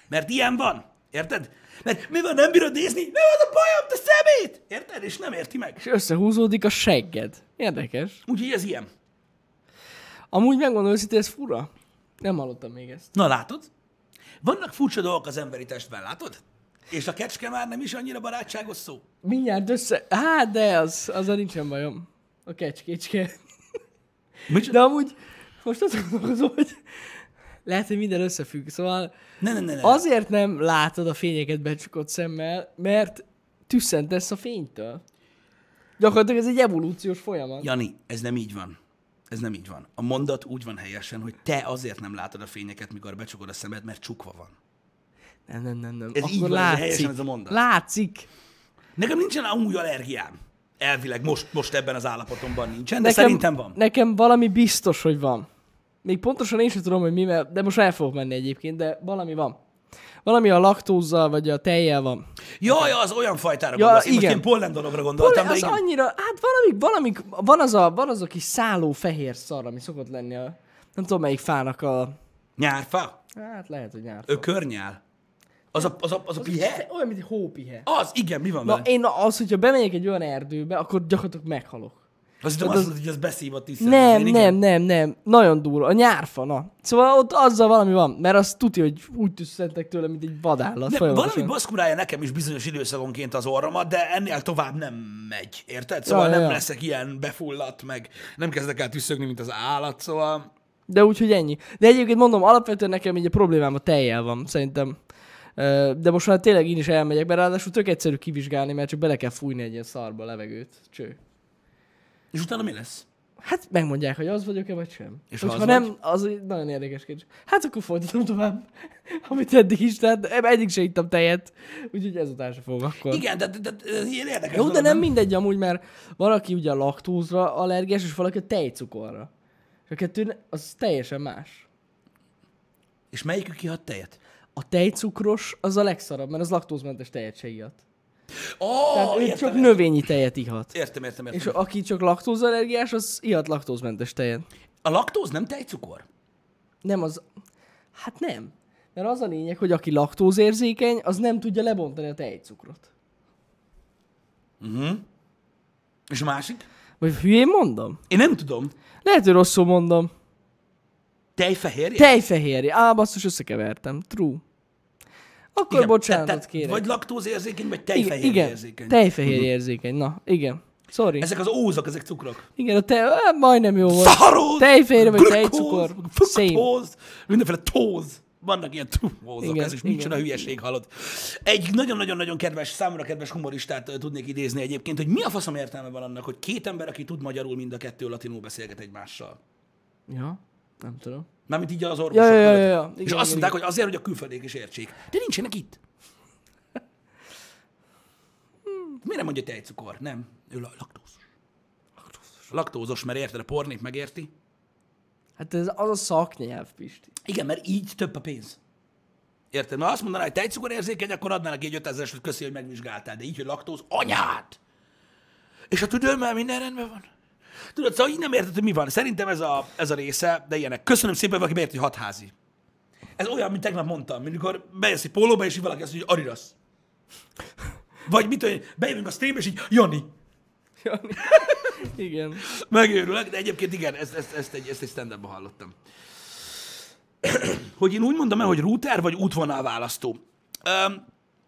S2: Mert ilyen van. Érted? Mert mivel nem bírod nézni? Nem az a bajom, te szemét! Érted? És nem érti meg.
S1: És összehúzódik a segged. Érdekes.
S2: Úgyhogy ez ilyen.
S1: Amúgy megmondom őszintén, ez fura. Nem hallottam még ezt.
S2: Na látod? Vannak furcsa dolgok az emberi testben, látod? És a kecske már nem is annyira barátságos szó.
S1: Mindjárt össze... Hát, de az, azzal nincsen bajom. A kecskécske.
S2: Micsoda?
S1: De amúgy most azt gondolkozom, hogy lehet, hogy minden összefügg. Szóval
S2: Ne, ne, ne, ne.
S1: azért nem látod a fényeket becsukott szemmel, mert tüsszentesz a fénytől. Gyakorlatilag ez egy evolúciós folyamat.
S2: Jani, ez nem így van. Ez nem így van. A mondat úgy van helyesen, hogy te azért nem látod a fényeket, mikor becsukod a szemed, mert csukva van.
S1: Nem, nem, nem, nem.
S2: Ez
S1: Akkor
S2: így van, ez
S1: látszik.
S2: helyesen ez a mondat.
S1: látszik.
S2: Nekem nincsen amúgy allergiám. Elvileg most, most ebben az állapotomban nincsen, de nekem... szerintem van.
S1: Nekem valami biztos, hogy van. Még pontosan én sem tudom, hogy mi, mert- de most el fogok menni egyébként, de valami van. Valami a laktózzal, vagy a tejjel van.
S2: Ja, ja, az olyan fajtára
S1: Ja,
S2: gondolsz. Én most
S1: igen.
S2: ilyen pollen dologra gondoltam,
S1: Valami,
S2: de
S1: az
S2: igen.
S1: annyira, hát valami, valami, van az, a, van az a kis szálló fehér szar, ami szokott lenni a, nem tudom melyik fának a,
S2: Nyárfa?
S1: hát lehet, hogy nyár.
S2: Ökörnyál? Az a, az a, az a pihe?
S1: Olyan, mint egy hópihe.
S2: Az, igen, mi van
S1: Na,
S2: vele?
S1: én az, hogyha bemegyek egy olyan erdőbe, akkor gyakorlatilag meghalok.
S2: Azt hittem azt, mondod, hogy az beszív a tisztelt.
S1: Nem, nem, nem, nem. Nagyon durva. A nyárfa, na. Szóval ott azzal valami van, mert azt tudja, hogy úgy tüsszentek tőle, mint egy vadállat.
S2: De valami
S1: folyamatosan.
S2: baszkurálja nekem is bizonyos időszakonként az orromat, de ennél tovább nem megy, érted? Szóval
S1: Ja, ja,
S2: nem
S1: ja.
S2: leszek ilyen befulladt, meg nem kezdek el tüsszögni, mint az állat, szóval...
S1: De úgyhogy ennyi. De egyébként mondom, alapvetően nekem így a problémám a tejjel van, szerintem. Ö, De most már tényleg én is elmegyek, mert ráadásul tök egyszerű kivizsgálni, mert csak bele kell fújni egy ilyen szarba a levegőt. Cső.
S2: És utána mi lesz?
S1: Hát megmondják, hogy az vagyok-e, vagy sem.
S2: És
S1: Hogy
S2: ha
S1: ha
S2: az
S1: nem, az egy nagyon érdekes kérdés. Hát akkor folytatom tovább, amit eddig is, tehát eddig se ittam tejet, úgyhogy ezután se fogok akkor.
S2: Igen, de, de, de ez ilyen érdekes
S1: Jó, de
S2: dolog,
S1: nem mindegy amúgy, mert valaki ugye a laktózra allergiás, és valaki a tejcukorra. És a kettő, ne- az teljesen más.
S2: És melyikük kihat tejet?
S1: A tejcukros az a legszarabb, mert az laktózmentes tejet se ihat.
S2: Ó,
S1: Tehát
S2: oh,
S1: ő csak
S2: értem,
S1: növényi tejet ihat.
S2: értem, értem, értem.
S1: És aki csak laktózallergiás, az ihat laktózmentes tejet.
S2: A laktóz nem tejcukor?
S1: Nem az... Hát nem. Mert az a lényeg, hogy aki laktózérzékeny, az nem tudja lebontani a tejcukrot.
S2: Mhm. És a másik?
S1: Vagy hülyén mondom?
S2: Én nem tudom.
S1: Lehet, hogy rosszul mondom.
S2: Tejfehérje?
S1: Tejfehérje. Á, basszus, összekevertem. True. Akkor
S2: Igen,
S1: bocsánatot
S2: tehát-
S1: kérek.
S2: Vagy laktózérzékeny, vagy
S1: igen,
S2: tejfehérje
S1: igen.
S2: érzékeny. Mhm.
S1: Tejfehérje érzékeny. Na, igen. Sorry. Ez...
S2: Ezek az ózak, ezek cukrok.
S1: Igen, a te... Á, majdnem jó volt.
S2: Szaharóz!
S1: Tejfehérje vagy
S2: glükóz,
S1: tejcukor. Same.
S2: Fruktóz, mindenféle tóz. Vannak ilyen tózok,
S1: Igen,
S2: ez is
S1: igen.
S2: micsoda hülyeség halad. Egy nagyon-nagyon-nagyon kedves, számomra kedves humoristát ö, tudnék idézni egyébként, hogy mi a faszom értelme van annak, hogy két ember, aki tud magyarul, mind a kettő latinul beszélget egymással.
S1: Ja, nem tudom.
S2: Mármint így az orvosok.
S1: Ja, ja, ja,
S2: között.
S1: ja, ja.
S2: És
S1: Igen,
S2: azt
S1: igen,
S2: mondták, hogy azért, hogy a külföldiek is értsék. De nincsenek itt. Miért nem mondja tejcukor? Nem. Ő la- laktózos. Laktózos, mert érted, a pornép megérti.
S1: Hát ez az a szaknyelv, Pisti.
S2: Igen, mert így több a pénz. Érted? Mert azt mondaná, hogy tejcukor érzékeny, akkor adnának egy 5000 hogy köszi, hogy megvizsgáltál, de így, hogy laktóz, anyád! És a tüdőmmel minden rendben van. Tudod, szóval így nem érted, hogy mi van. Szerintem ez a, ez a része, de ilyenek. Köszönöm szépen, valaki beért, hogy hatházi. Ez olyan, mint tegnap mondtam, mint amikor bejössz egy pólóba, és így valaki azt mondja, hogy Adidas. Vagy mit, hogy bejövünk a streambe, és így Jani.
S1: Igen.
S2: Megőrülök, de egyébként igen, ezt, ezt, ezt, egy, ezt egy stand hallottam. hogy én úgy mondom el, hogy router vagy útvonal választó. Um,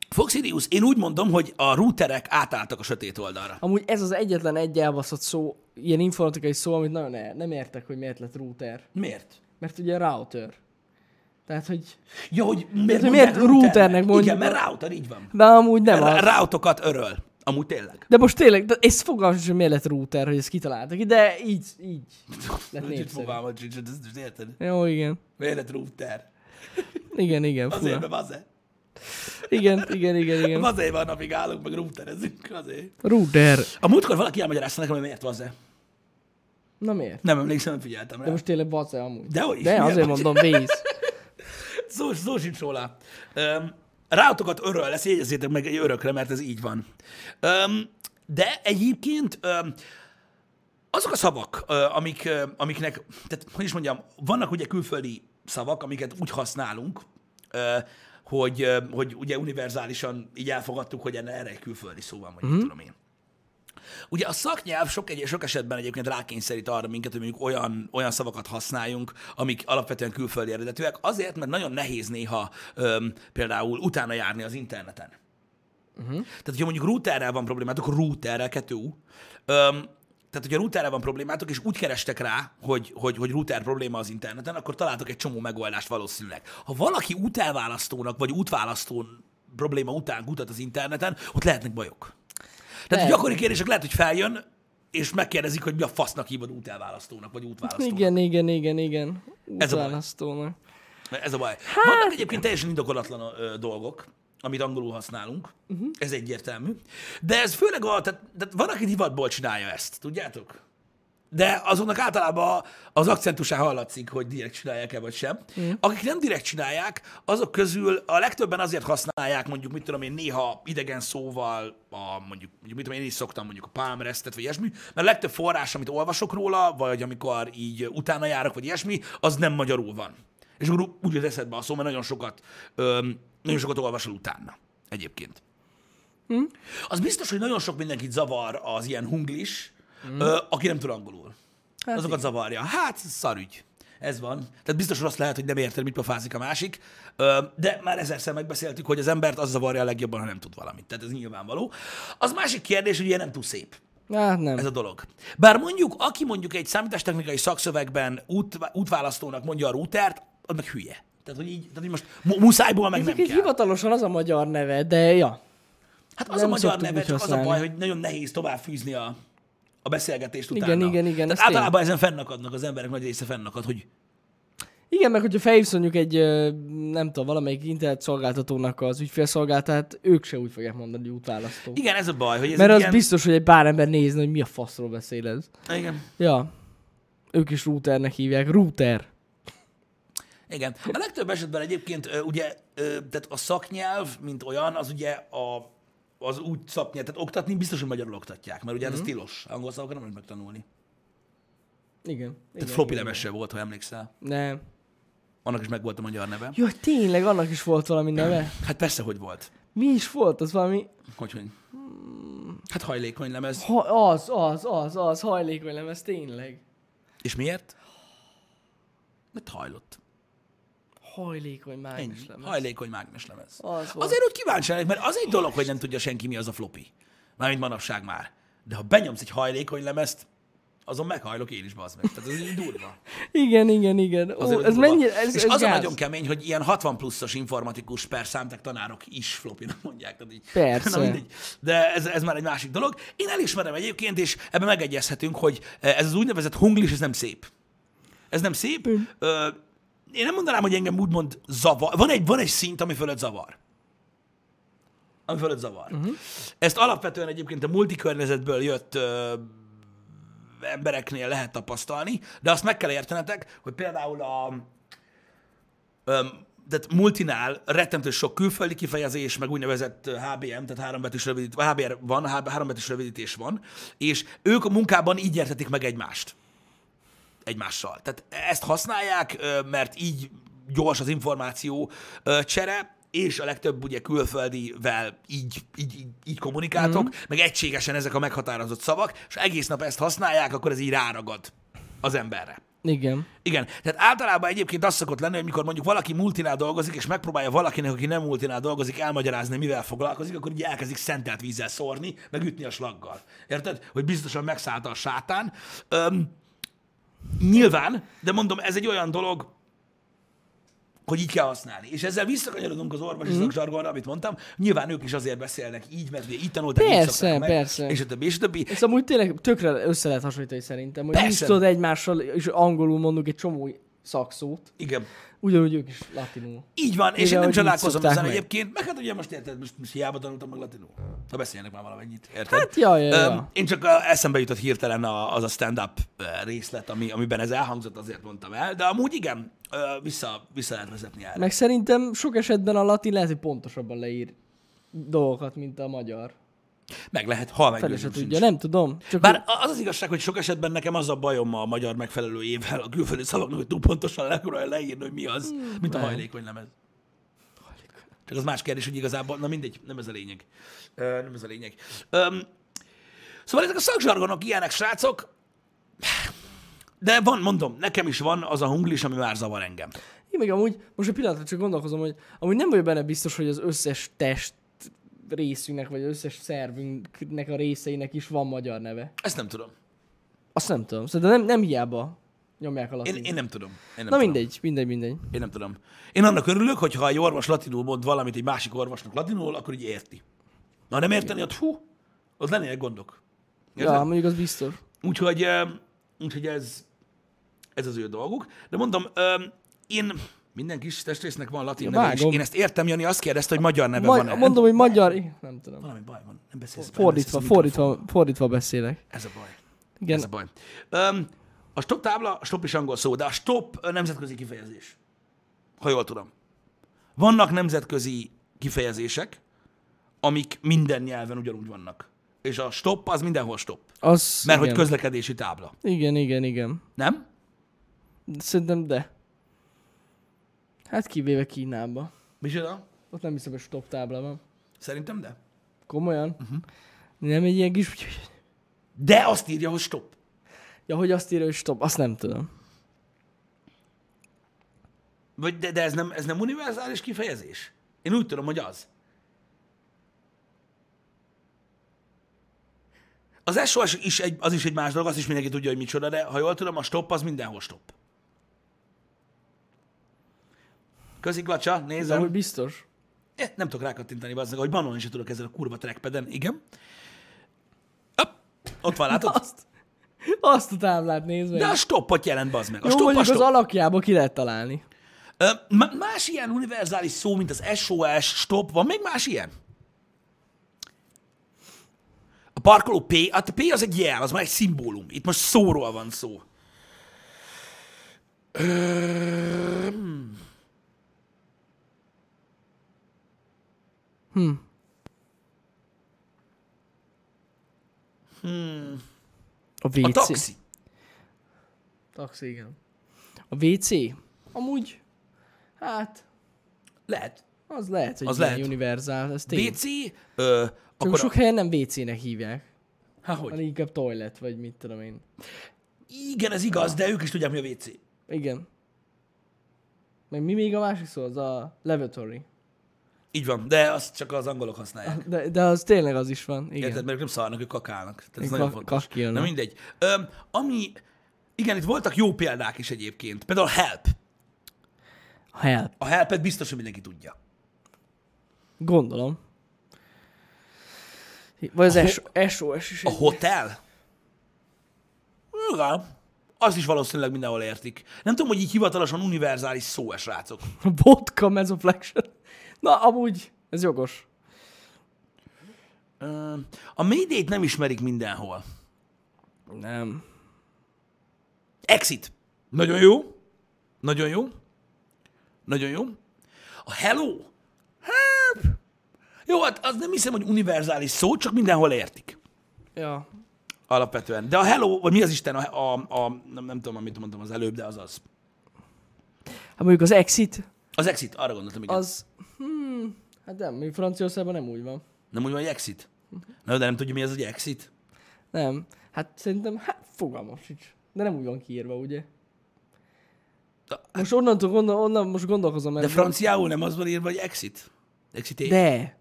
S2: Fox Sirius, én úgy mondom, hogy a routerek átálltak a sötét oldalra.
S1: Amúgy ez az egyetlen egy elbaszott szó, ilyen informatikai szó, amit nagyon el, nem értek, hogy miért lett router.
S2: Miért?
S1: Mert ugye router. Tehát, hogy...
S2: Ja, hogy
S1: hogy
S2: miért,
S1: miért routernek mondjuk?
S2: mondjuk? Igen, mert router, így van.
S1: De amúgy nem
S2: Mert
S1: az.
S2: Routokat öröl. Amúgy tényleg.
S1: De most tényleg, de ez fogalmam sincs, hogy miért lett router, hogy ezt kitaláltak ki, de így, így lett
S2: Legit
S1: népszerű.
S2: fogalmat sincs, hogy ezt most érted?
S1: Jó, igen.
S2: Miért lett router?
S1: Igen, igen,
S2: Azért,
S1: fura.
S2: mert azért.
S1: Igen, igen, igen, igen.
S2: Azért van, napig állunk, meg routerezünk, azért.
S1: Router.
S2: A múltkor valaki elmagyarázta nekem, hogy miért van azért.
S1: Na miért?
S2: Nem emlékszem, nem figyeltem rá.
S1: De most tényleg bace amúgy.
S2: Dehogy is,
S1: De
S2: milyen
S1: azért
S2: vagy?
S1: mondom, vész.
S2: Szó, szó sincs róla. Um, rátokat öröl lesz, jegyezzétek meg egy örökre, mert ez így van. Um, de egyébként um, azok a szavak, ö, amik, ö, amiknek, tehát hogy is mondjam, vannak ugye külföldi szavak, amiket úgy használunk, ö, hogy, ö, hogy ugye univerzálisan így elfogadtuk, hogy enne- erre egy külföldi szó van, vagy mm. tudom én. Ugye a szaknyelv sok, egy, sok esetben egyébként rákényszerít arra minket, hogy mondjuk olyan, olyan szavakat használjunk, amik alapvetően külföldi eredetűek, azért, mert nagyon nehéz néha öm, például utána járni az interneten. Tehát, hogyha mondjuk routerrel van problémátok, routerrel, kettő U, öm, tehát, hogyha routerrel van problémátok, és úgy kerestek rá, hogy, hogy, hogy router probléma az interneten, akkor találtok egy csomó megoldást valószínűleg. Ha valaki útelválasztónak vagy útválasztón probléma után kutat az interneten, ott lehetnek bajok. Tehát
S1: Lehet.
S2: gyakori kérdések lehet, hogy feljön, és megkérdezik, hogy mi a fasznak hívod útelválasztónak, vagy útválasztónak.
S1: Igen, igen, igen, igen.
S2: Ez a baj.
S1: Utánasztónak.
S2: Ez a baj. Hát... Vannak egyébként teljesen indokolatlan ö, dolgok, amit angolul használunk, uh-huh. ez egyértelmű. De ez főleg a, tehát, tehát van, aki hivatból csinálja ezt, tudjátok? De azoknak általában az akcentusán hallatszik, hogy direkt csinálják-e vagy sem. Mm. Akik nem direkt csinálják, azok közül a legtöbben azért használják, mondjuk, mit tudom én, néha idegen szóval, a, mondjuk, mondjuk, mit tudom én, én is szoktam mondjuk a pálmresztet, vagy ilyesmi, mert a legtöbb forrás, amit olvasok róla, vagy amikor így utána járok, vagy ilyesmi, az nem magyarul van. És akkor ú- úgy jut eszedbe a szó, mert nagyon sokat, öm, nagyon sokat olvasol utána egyébként. Hm? Az biztos, hogy nagyon sok mindenkit zavar az ilyen hunglis, hm? ö, aki nem tud angolul. Hát Azokat igen. zavarja. Hát, szarügy. Ez van. Tehát biztos, hogy azt lehet, hogy nem érted, mit pofázik a másik, ö, de már ezerszer megbeszéltük, hogy az embert az zavarja a legjobban, ha nem tud valamit. Tehát ez nyilvánvaló. Az másik kérdés, hogy ilyen nem túl szép
S1: Hát nem.
S2: ez a dolog. Bár mondjuk, aki mondjuk egy számítástechnikai szakszövegben út, útválasztónak mondja a routert, az meg hülye. Tehát, hogy így, tehát, hogy most mu- muszájból meg nem
S1: Ezek egy
S2: kell.
S1: hivatalosan az a magyar neve, de ja.
S2: Hát az a
S1: nem
S2: magyar
S1: szoktuk
S2: neve,
S1: úgy
S2: csak az a
S1: használni.
S2: baj, hogy nagyon nehéz tovább fűzni a, a beszélgetést
S1: Igen,
S2: utána.
S1: igen, igen, ez
S2: Tehát általában ezen fennakadnak, az emberek nagy része fennakad, hogy
S1: Igen, meg hogyha felhívsz mondjuk egy, ö, nem tudom, valamelyik internet szolgáltatónak az ügyfélszolgáltát, ők se úgy fogják mondani, hogy útválasztó.
S2: igen, ez a baj, hogy ez
S1: Mert
S2: egy
S1: az
S2: ilyen...
S1: biztos, hogy egy pár ember nézne, hogy mi a faszról beszél ez.
S2: Igen.
S1: Ja. Ők is routernek hívják. Router.
S2: Igen. A legtöbb esetben egyébként ö, ugye, ö, tehát a szaknyelv, mint olyan, az ugye a, az úgy szaknyelv, tehát oktatni biztos, hogy magyarul oktatják, mert ugye
S1: Mhm.
S2: mm-hmm. ez tilos. Angol szavakat nem lehet megtanulni.
S1: Igen. igen
S2: Tehát floppy lemesse volt, ha emlékszel.
S1: Nem.
S2: Annak is megvolt a magyar neve.
S1: Jó, tényleg, annak is volt valami neve.
S2: Hát persze, hogy volt.
S1: Mi is volt? Az valami...
S2: Hogy, hogy?
S1: Hmm.
S2: Hát hajlékony lemez.
S1: Ha, az, az, az, az, hajlékony lemez, tényleg.
S2: És miért? Mert hajlott.
S1: Hajlékony
S2: Ennyi.
S1: mágnes lemez.
S2: Hajlékony mágnes lemez.
S1: Az volt.
S2: Azért úgy kíváncsi lennék, mert az egy dolog, hogy nem tudja senki, mi az a floppy. Mármint manapság már. De ha benyomsz egy hajlékony lemezt, azon meghajlok én is, bazd meg. Tehát ez így durva.
S1: Igen, igen, igen.
S2: Azért
S1: Ó, ez
S2: durva.
S1: mennyire... Ez,
S2: és
S1: ez
S2: az a
S1: gáz.
S2: nagyon kemény, hogy ilyen 60 pluszos informatikus per számtek tanárok is flopinak mondják. Tehát így,
S1: Persze.
S2: Na mindegy. De ez, ez már egy másik dolog. Én elismerem egyébként, és ebben megegyezhetünk, hogy ez az úgynevezett hunglis, ez nem szép. Ez nem szép. Ö, én nem mondanám, hogy engem úgymond zavar. Van egy, van egy szint, ami fölött zavar. Ami fölött zavar. Uh-huh. Ezt alapvetően egyébként a multikörnyezetből jött ö, embereknél lehet tapasztalni, de azt meg kell értenetek, hogy például a, öm, tehát multinál rettentő sok külföldi kifejezés, meg úgynevezett ö, HBM, tehát hárombetűs rövidítés, HBR van, háb- hárombetűs rövidítés van, és ők a munkában így értetik meg egymást. Egymással. Tehát ezt használják, ö, mert így gyors az információ ö, csere, és a legtöbb ugye külföldivel így, így, így, így kommunikáltok, mm. meg egységesen ezek a meghatározott szavak, és egész nap ezt használják, akkor ez így ráragad az emberre.
S1: Igen.
S2: Igen. Tehát általában egyébként az szokott lenni, hogy mikor mondjuk valaki multinál dolgozik, és megpróbálja valakinek, aki nem multinál dolgozik, elmagyarázni, mivel foglalkozik, akkor így elkezdik szentelt vízzel szórni, meg ütni a slaggal. Érted? Hogy biztosan megszállta a sátán. Öm, nyilván, de mondom, ez egy olyan dolog, hogy így kell használni. És ezzel visszakanyarodunk az
S1: Mhm.
S2: orvosi mm. zsargonra, amit mondtam. Nyilván ők is azért beszélnek így, mert ugye így tanulták, így
S1: Persze,
S2: szokták meg,
S1: persze.
S2: és a többi, és a többi.
S1: Ez amúgy tényleg tökre össze lehet hasonlítani szerintem, hogy mi is
S2: Persze.
S1: tudod egymással, és angolul mondunk egy csomó szakszót,
S2: Igen.
S1: ugyanúgy ők is latinul.
S2: Így van, és
S1: Igen,
S2: én nem
S1: hogy így
S2: csodálkozom
S1: szokták
S2: ezen
S1: meg.
S2: egyébként, meg hát ugye most érted, most, most hiába tanultam meg latinul. Ha beszélnek már valamennyit, érted?
S1: Hát, ja, ja, ja.
S2: Öm, Én csak a- eszembe jutott hirtelen a- az a stand-up ö, részlet, ami, amiben ez elhangzott, azért mondtam el, de amúgy igen, ö, vissza, vissza lehet vezetni erre.
S1: Meg szerintem sok esetben a latin lehet, hogy pontosabban leír dolgokat, mint a magyar.
S2: Meg lehet, ha
S1: Fel se
S2: meggyőzünk
S1: tudja, nem tudom. Csak
S2: Bár az az igazság, hogy sok esetben nekem az a bajom a magyar megfelelőjével, a külföldi szavaknak, hogy túl pontosan le akarja leírni, hogy mi az, mint a hajlékony lemez. Csak az más kérdés, hogy igazából, na mindegy, nem ez a lényeg. Ö, nem ez a lényeg. Öm, szóval ezek a szakzsargonok ilyenek, srácok. De van, mondom, nekem is van az a hunglis, ami már zavar engem.
S1: Én még amúgy, most egy pillanatra csak gondolkozom, hogy amúgy nem vagyok benne biztos, hogy az összes test részünknek, vagy az összes szervünknek a részeinek is van magyar neve.
S2: Ezt nem tudom.
S1: Azt nem tudom. Szerintem nem, nem hiába nyomják a
S2: Én,
S1: latin.
S2: én nem tudom. Én
S1: Na
S2: nem tudom.
S1: mindegy, mindegy, mindegy.
S2: Én nem tudom. Én annak örülök, hogy ha egy orvos latinul mond valamit egy másik orvosnak latinul, akkor így érti. Na, ha nem érteni, ott hú, az lennének gondok.
S1: Ja,
S2: Érted?
S1: mondjuk az biztos.
S2: Úgyhogy, ö, úgyhogy ez, ez az ő dolguk. De mondom, ö, én minden kis testrésznek van latin
S1: Ja,
S2: neve, és
S1: vágom.
S2: én ezt értem, Jani azt kérdezte, hogy magyar neve
S1: Majd,
S2: van-e.
S1: mondom, hogy magyar... Nem tudom.
S2: Valami baj van, nem beszélsz. be, nem
S1: Fordítva,
S2: beszélsz a mikrofonba.
S1: fordítva, fordítva beszélek.
S2: Ez a baj.
S1: Igen.
S2: Ez a baj. Öm, a stop tábla, a stop is angol szó, de a stop ö, nemzetközi kifejezés. Ha jól tudom. Vannak nemzetközi kifejezések, amik minden nyelven ugyanúgy vannak. És a stop az mindenhol stop.
S1: Az,
S2: Mert
S1: igen.
S2: hogy közlekedési tábla.
S1: Igen, igen, igen.
S2: Nem?
S1: Szerintem de. Hát kivéve Kínába.
S2: Micsoda?
S1: Ott nem hiszem, hogy stop tábla van.
S2: Szerintem de.
S1: Komolyan?
S2: Mhm.
S1: Nem egy ilyen kis...
S2: De azt írja, hogy stop.
S1: Ja, hogy azt írja, hogy stop, azt nem tudom.
S2: Vagy de, de ez, nem, ez nem univerzális kifejezés? Én úgy tudom, hogy az. Az SOS is egy, az is egy más dolog, azt is mindenki tudja, hogy micsoda, de ha jól tudom, a stop az mindenhol stop. Köziglacsa,
S1: De
S2: nézem.
S1: hogy biztos.
S2: Eh, nem tudok rákattintani, bazzeg, hogy banon is tudok ezen a kurva trackpeden, igen. Hopp, ott van, látod?
S1: Azt, azt a táblát nézve.
S2: De a stoppot jelent, bazd meg. A
S1: Jó,
S2: stop, a
S1: mondjuk az
S2: stop.
S1: alakjába ki lehet találni.
S2: Ö, ma- Más ilyen univerzális szó, mint az SOS, stop, van még más ilyen? A parkoló P, hát a P az egy jel, az már egy szimbólum. Itt most szóról van szó.
S1: A
S2: A
S1: WC.
S2: taxi.
S1: Taxi, igen. A WC? Amúgy, hát,
S2: Lehet.
S1: az lehet, hogy
S2: Az
S1: az
S2: lehet.
S1: lehet. univerzál, ez tény. Csak
S2: WC, ö, akkor...
S1: sok
S2: Sok...
S1: helyen nem WC-nek hívják,
S2: Há, hogy?
S1: hanem inkább toilet, vagy mit tudom én.
S2: Igen, ez igaz, de ők is tudják, mi a WC.
S1: Igen. Meg mi még a másik szó? Az a lavatory.
S2: Így van, de azt csak az angolok használják.
S1: De, de az tényleg az is van, Ah, igen.
S2: Érted, mert ők nem szarnak, ők kakálnak. Tehát ez
S1: Ők
S2: nagyon
S1: kak-
S2: fontos.
S1: kakilnak.
S2: Na mindegy. Öm, ami... Igen, itt voltak jó példák is egyébként. Például help.
S1: Help.
S2: A helpet biztos, hogy mindenki tudja.
S1: Gondolom. Vagy az S- SOS is.
S2: A
S1: Egy...
S2: hotel? Igen. Az is valószínűleg mindenhol értik. Nem tudom, hogy így hivatalosan univerzális szó -e, srácok.
S1: Vodka mesoflexion. Na, amúgy, ez jogos.
S2: Ö, A médét nem ismerik mindenhol.
S1: Nem.
S2: Exit. Nagyon jó. Nagyon jó. Nagyon jó. A hello. Help. Jó, hát az nem hiszem, hogy univerzális szó, csak mindenhol értik.
S1: Ja.
S2: Alapvetően. De a hello, vagy mi az Isten, a, a, a nem, nem tudom, amit mondtam az előbb, de az az.
S1: Hát mondjuk az exit,
S2: Az exit, arra gondoltam, igen.
S1: az... Hmm, hát nem, mi Franciaországban nem úgy van.
S2: Nem úgy van, hogy exit? Na, de nem tudja, mi az, hogy exit?
S1: Nem. Hát szerintem, hát fogalmam sincs. De nem úgy van kiírva, ugye?
S2: Da-
S1: Most onnantól gondol, onnan most gondolkozom, mert...
S2: De franciául nem az van írva, hogy exit? Exit de...
S1: De.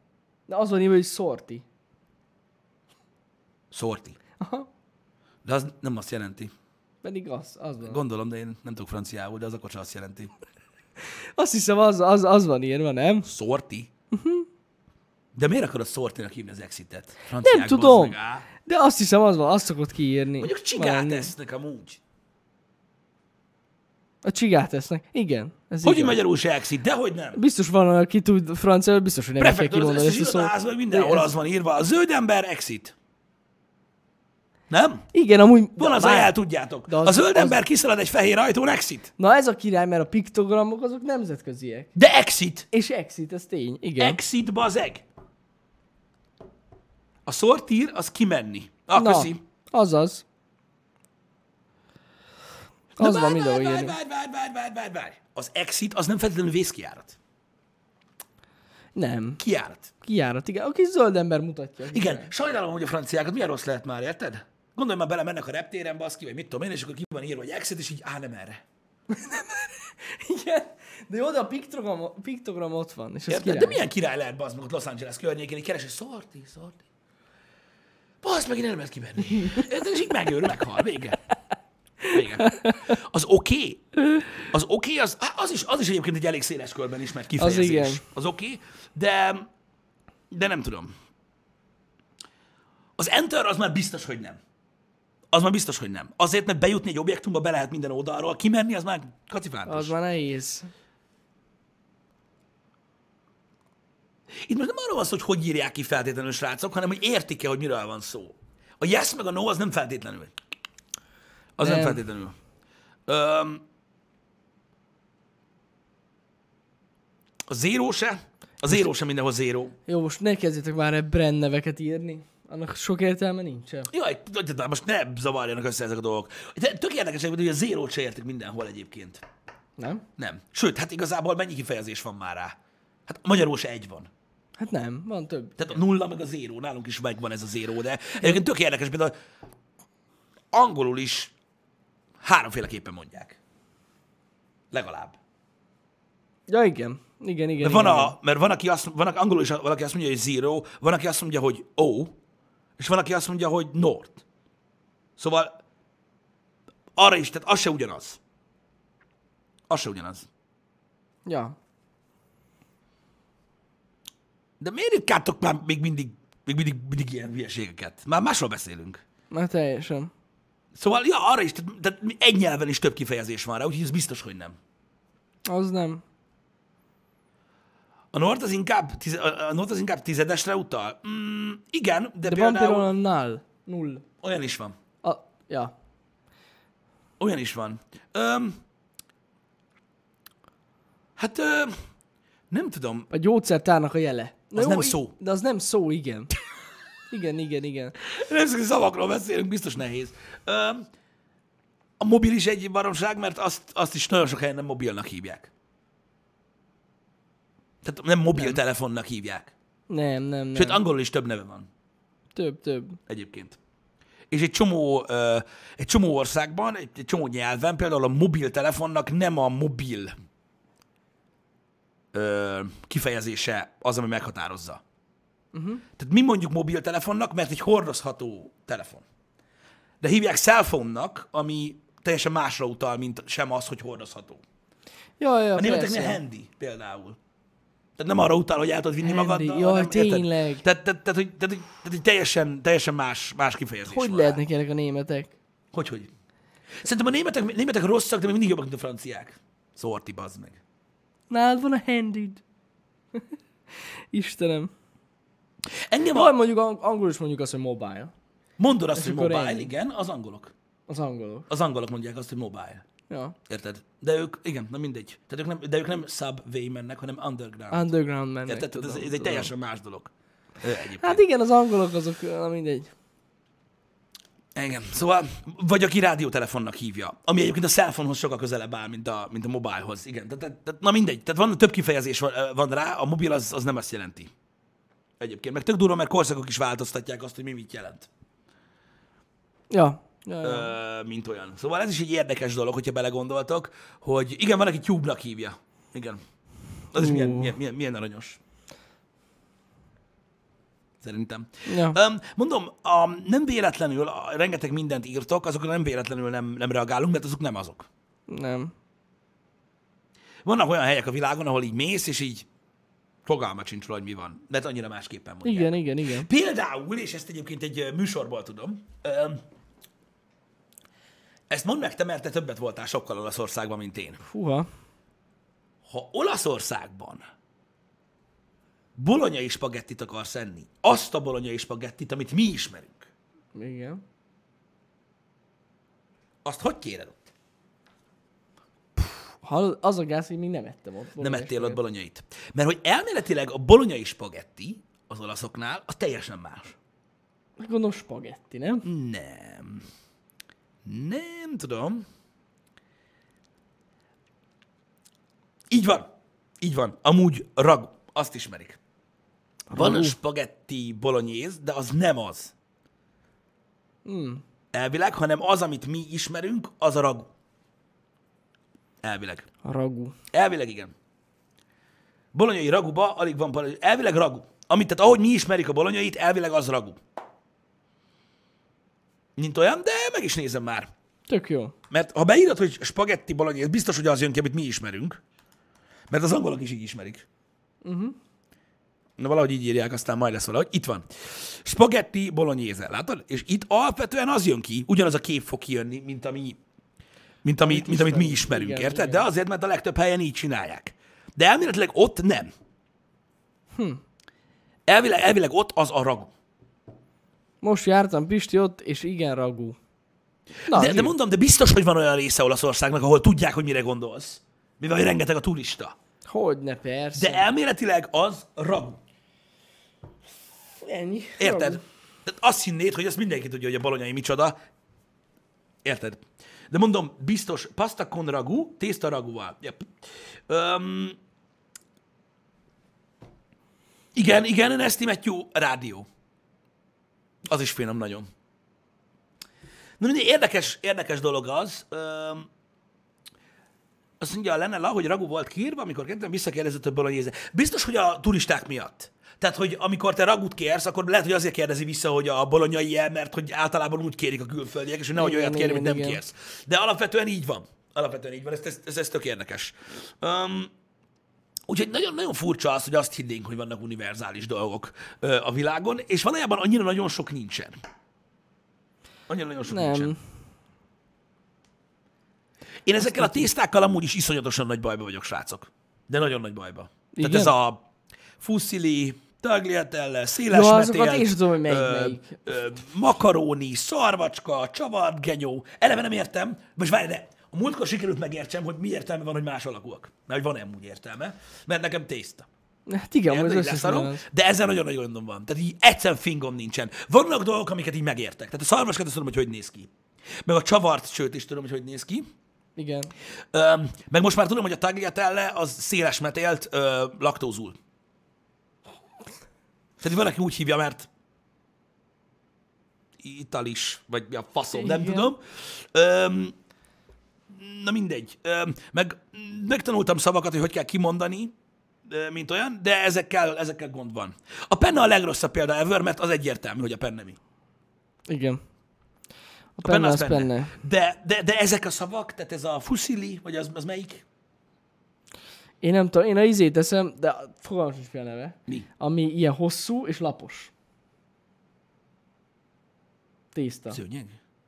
S1: De az van írva, hogy sorti.
S2: Sorti.
S1: Aha.
S2: De az nem azt jelenti.
S1: Pedig az, az van.
S2: Gondolom, de én nem tudok franciául, de az akkor sem azt jelenti.
S1: Azt hiszem, az, az, az van írva, nem?
S2: Sorti? De miért akarod sortinak hívni az exitet?
S1: Mhm. Nem
S2: Franciák, bazd
S1: tudom.
S2: meg, á.
S1: De azt hiszem, az van, azt szokott kiírni.
S2: Mondjuk csigát
S1: Valami.
S2: esznek amúgy.
S1: A csigát esznek. Igen. Ez
S2: Hogy
S1: így van.
S2: magyarul se exit? Dehogy nem.
S1: Biztos van, aki tud francia, biztos, hogy nem kell
S2: Prefektor az
S1: kimondani
S2: összes
S1: ezt a szót.
S2: irodaházban mindenhol
S1: Ez-
S2: az van írva. A zöld ember exit. Nem?
S1: Igen, amúgy...
S2: Van az a
S1: várj.
S2: jel, tudjátok.
S1: De
S2: A
S1: az-
S2: zöld
S1: az-
S2: ember kiszalad egy fehér ajtón, exit.
S1: Na ez a király, mert a piktogramok azok nemzetköziek.
S2: De exit.
S1: És exit, ez tény, igen.
S2: Exit, bazeg. A szortír, az kimenni. Ah, Na. köszi.
S1: azaz. Az van
S2: Na, várj,
S1: mindenhol
S2: várj,
S1: írni.
S2: várj, várj, várj, várj, várj, várj. Az exit, az nem feltétlenül vészkijárat.
S1: Nem.
S2: Kiárt.
S1: Kijárat, igen. A kis zöld ember mutatja.
S2: Igen, sajnálom, hogy a franciákat milyen rossz lehet már, érted? Gondolj már bele, mennek a reptéren, baszki, vagy mit tudom én, és akkor ki van írva, hogy exit, és így, á, nem erre.
S1: igen. De jó, de a piktogram, piktogram ott van, és ez
S2: Érted?
S1: király.
S2: De milyen király lehet bazd meg ott Los Angeles környékén, így keres, hogy szorti, szorti. Bazd meg, én nem lehet kimenni. Érted? És így megőrül, meghal, vége. Vége. Az oké, okay. az oké, okay, az, á, az, is, az is egyébként egy elég széles körben ismert kifejezés. Az,
S1: igen.
S2: az oké, okay, de, de nem tudom. Az enter az már biztos, hogy nem. Az már biztos, hogy nem. Azért, mert bejutni egy objektumba be lehet minden oldalról, kimenni az már kacifántos.
S1: Az már nehéz.
S2: Itt most nem arról van szó, hogy hogy írják ki feltétlenül srácok, hanem hogy értik-e, hogy miről van szó. A yes meg a no az nem feltétlenül. Az nem, nem
S1: Nem.
S2: feltétlenül. Öm, a zéró se. A zéró se mindenhol zéró.
S1: Jó, most ne kezdjetek már el brand neveket írni. Annak sok értelme nincsen.
S2: Jaj, de- de most ne zavarjanak össze ezek a dolgok. De tök érdekes, egyébként, hogy a zérót se értik mindenhol egyébként.
S1: Nem?
S2: Nem. Sőt, hát igazából mennyi kifejezés van már rá? Hát magyarul se egy van.
S1: Hát nem, van több.
S2: Tehát a nulla meg a zéró, nálunk is megvan ez a zéró, de egyébként tök érdekes, például angolul is háromféleképpen mondják. Legalább.
S1: Ja, igen. Igen, igen.
S2: Mert van,
S1: igen.
S2: a, mert van, aki azt, van aki angolul is valaki azt mondja, hogy zero, van, aki azt mondja, hogy O, és van, aki azt mondja, hogy North. Szóval arra is, tehát az se ugyanaz. Az se ugyanaz.
S1: Ja.
S2: De miért ritkáltok már még mindig, még mindig, mindig ilyen hülyeségeket? Már másról beszélünk.
S1: Már teljesen.
S2: Szóval, ja, arra is, tehát, tehát egy nyelven is több kifejezés van rá, úgyhogy ez biztos, hogy nem.
S1: Az nem.
S2: A Nord az inkább, tiz, a a Nord az inkább tizedesre utal? Mm, igen,
S1: De
S2: de,
S1: van
S2: például,
S1: például a null. Null.
S2: olyan is van.
S1: A, ja.
S2: Olyan is van. Öm, hát öm, nem tudom.
S1: A gyógyszertárnak a jele. Na
S2: Az nem
S1: i-
S2: szó.
S1: De az nem szó, igen. Igen, igen, igen.
S2: Nem szó, szavakról beszélünk, biztos nehéz. Öm, a mobil is egy baromság, mert azt, azt is nagyon sok helyen nem mobilnak hívják. Tehát nem mobiltelefonnak hívják.
S1: Nem, nem, nem.
S2: Sőt, angolul is több neve van.
S1: Több, több.
S2: egyébként. És egy csomó, ö, egy csomó országban, egy, egy csomó nyelven, például a mobiltelefonnak nem a mobil ö, kifejezése az, ami meghatározza. Uh-huh. Tehát mi mondjuk mobiltelefonnak, mert egy hordozható telefon. De hívják cellphone-nak, ami teljesen másra utal, mint sem az, hogy hordozható.
S1: Ja, ja,
S2: A németeknél handy például. Tehát nem arra utal, hogy el tudod vinni
S1: Handy.
S2: magaddal.
S1: Jaj,
S2: hanem- érted?
S1: tényleg.
S2: Tehát, tehát, tehát, hogy, tehát, hogy- tehát, hogy teljesen, teljesen más, más kifejezés
S1: Hogy
S2: van
S1: lehetnek ilyenek a németek?
S2: rá. Hogy, hogy? Szerintem a németek, németek rosszak, de még mindig jobbak, mint a franciák. Szorti, bazd meg.
S1: Nálad van a handid. Istenem.
S2: Engem
S1: Vagy
S2: a,
S1: mondjuk ang- angol is mondjuk azt, hogy mobile.
S2: mondod azt, hogy
S1: akkor
S2: mobile,
S1: én.
S2: igen, az angolok.
S1: Az angolok.
S2: Az angolok mondják azt, hogy mobile.
S1: Ja.
S2: Érted? De ők, igen, na mindegy. Tehát ők nem, de ők nem subway mennek, hanem underground.
S1: Underground mennek.
S2: Érted? Tehát
S1: Ah, tudom,
S2: ez, ez egy
S1: tudom.
S2: teljesen más dolog. Ö, Egyébként.
S1: Hát igen, az angolok azok, na mindegy.
S2: Igen, szóval, vagy aki rádiótelefonnak hívja, ami egyébként a cellphone sokkal közelebb áll, mint a, mint a mobilhoz. Igen, tehát, tehát- tehát, na mindegy, tehát van, több kifejezés van, ö, van rá, a mobil az, az nem azt jelenti. Egyébként, meg tök durva, mert korszakok is változtatják azt, hogy mi mit jelent,
S1: Ja. ja, ja.
S2: ö, mint olyan. Szóval ez is egy érdekes dolog, hogyha belegondoltok, hogy igen, van, aki tube-nak hívja. Igen. Az is milyen, milyen, milyen, milyen aranyos. Szerintem.
S1: ja.
S2: Um, mondom, a, nem véletlenül, a, rengeteg mindent írtok, azokra nem véletlenül nem, nem reagálunk, mert azok nem azok.
S1: Nem.
S2: Vannak olyan helyek a világon, ahol így mész, és így fogalma sincs róla, hogy mi van. Mert annyira másképpen mondják.
S1: Igen, igen, igen.
S2: Például, és ezt egyébként egy ö, műsorból tudom, öm, ezt mondd meg te, mert te többet voltál sokkal Olaszországban, mint én.
S1: Fúha.
S2: Ha Olaszországban bolonyai spagettit akarsz enni, azt a bolonyai spagettit, amit mi ismerünk,
S1: Igen.
S2: azt hogy kéred ott?
S1: Hall, az a gáz, hogy még nem ettem ott.
S2: nem
S1: Bolonyás
S2: ettél ott
S1: spagetti.
S2: bolonyait. Mert hogy elméletileg a bolonyai spagetti az olaszoknál, az teljesen más.
S1: Gondolom spagetti, nem?
S2: Nem. Nem tudom. Így van. Így van. Amúgy rag. Azt ismerik. Van spagetti bolognese, de az nem az. Hmm. Elvileg, hanem az, amit mi ismerünk, az a ragú. Elvileg.
S1: A ragú.
S2: Elvileg igen. Bolonyai raguba alig van bolonyai. Elvileg ragu. Amit, tehát ahogy mi ismerik a bolonyait, elvileg az ragu. Mint olyan, de meg is nézem már.
S1: Tök jó.
S2: Mert ha beírod, hogy spagetti bolonyai, ez biztos, hogy az jön ki, amit mi ismerünk. Mert az angolok is így ismerik. Uh-huh. Na valahogy így írják, aztán majd lesz valahogy. Itt van. Spagetti bolonyéze, látod? És itt alapvetően az jön ki, ugyanaz a kép fog kijönni, mint ami mint, ami, mint amit mi
S1: ismerünk.
S2: ismerünk,
S1: Igen,
S2: érted?
S1: igen.
S2: De azért, mert a legtöbb helyen így csinálják. De elméletileg ott nem. Hm.
S1: Hm.
S2: Elvileg, elvileg ott az a ragú.
S1: Most jártam Pisti ott, és igen ragú. Na,
S2: De,
S1: zsír.
S2: de mondom, de biztos, hogy van olyan része Olaszországnak, ahol tudják, hogy mire gondolsz. Mivel hogy rengeteg a turista.
S1: Hogyne, persze.
S2: De elméletileg az ragú.
S1: ennyi.
S2: Érted?
S1: Ragú.
S2: Tehát azt hinnéd, hogy ezt mindenki tudja, hogy a balonyai micsoda. Érted? De mondom, biztos, pasta con ragú, tészta ragúval. Yep. Öm, igen, igen, an estimate jó rádió. Az is finom nagyon. Na mindegy, érdekes, érdekes dolog az. Öm, azt mondja, lenne la, hogy ragu volt kiírva, amikor ketten visszakérdezett, hogy bolonyéze. Biztos, hogy a turisták miatt. Tehát, hogy amikor te ragut kérsz, akkor lehet, hogy azért kérdezi vissza, hogy a bolonyai el, mert hogy általában úgy kérik a külföldiek, és hogy nehogy
S1: Igen,
S2: olyat kérni, amit
S1: igen,
S2: nem
S1: igen.
S2: kérsz. De alapvetően így van. Alapvetően így van, ez, ez, ez, ez tök érdekes. Um, Úgyhogy nagyon-nagyon furcsa az, hogy azt hinnénk, hogy vannak univerzális dolgok ö, a világon, és valójában annyira nagyon sok nincsen. Annyira nagyon sok nincsen.
S1: Nem.
S2: Én ezekkel a tésztákkal amúgy is iszonyatosan nagy bajba vagyok, srácok. De nagyon nagy bajba.
S1: Igen?
S2: Igen? Tehát ez a fuszili, tagliatelle, széles
S1: Jó,
S2: ja,
S1: azokat én sem tudom, hogy melyik, melyik.
S2: Ö, makaróni, szarvacska, csavart, genyó. Eleve nem értem. Most várj, de a múltkor sikerült megértsem, hogy mi értelme van, hogy más alakúak. Mert hogy van-e amúgy értelme? Mert nekem tészta.
S1: Hát igen,
S2: Érted,
S1: az
S2: hogy
S1: összes
S2: leszarom,
S1: minden az.
S2: de ezzel nagyon nagy gondom van. Tehát így egyszerűen fingom nincsen. Vannak dolgok, amiket így megértek. Tehát a szarvaskát azt tudom, hogy hogy néz ki. Meg a csavart sőt is tudom, hogy hogy néz ki.
S1: Igen.
S2: Öm, meg most már tudom, hogy a tagliatelle az széles metélt ö, laktózul. Tehát van, aki úgy hívja, mert italis, vagy mi a faszom, nem
S1: Igen.
S2: tudom. Öm, na mindegy. Öm, meg megtanultam szavakat, hogy hogy kell kimondani, ö, mint olyan, de ezekkel, ezekkel gond van. A penna a legrosszabb példa ever, mert az egyértelmű, hogy a penne mi.
S1: Igen. A
S2: A penne
S1: penne
S2: az
S1: az
S2: penne.
S1: penne.
S2: De, de, de ezek a szavak, tehát ez a fuszili, vagy az, az melyik?
S1: Én nem tudom, én a izét teszem, de fogalmam sincs mi a neve.
S2: Mi?
S1: Ami ilyen hosszú és lapos. Tészta.
S2: Szőnyeg?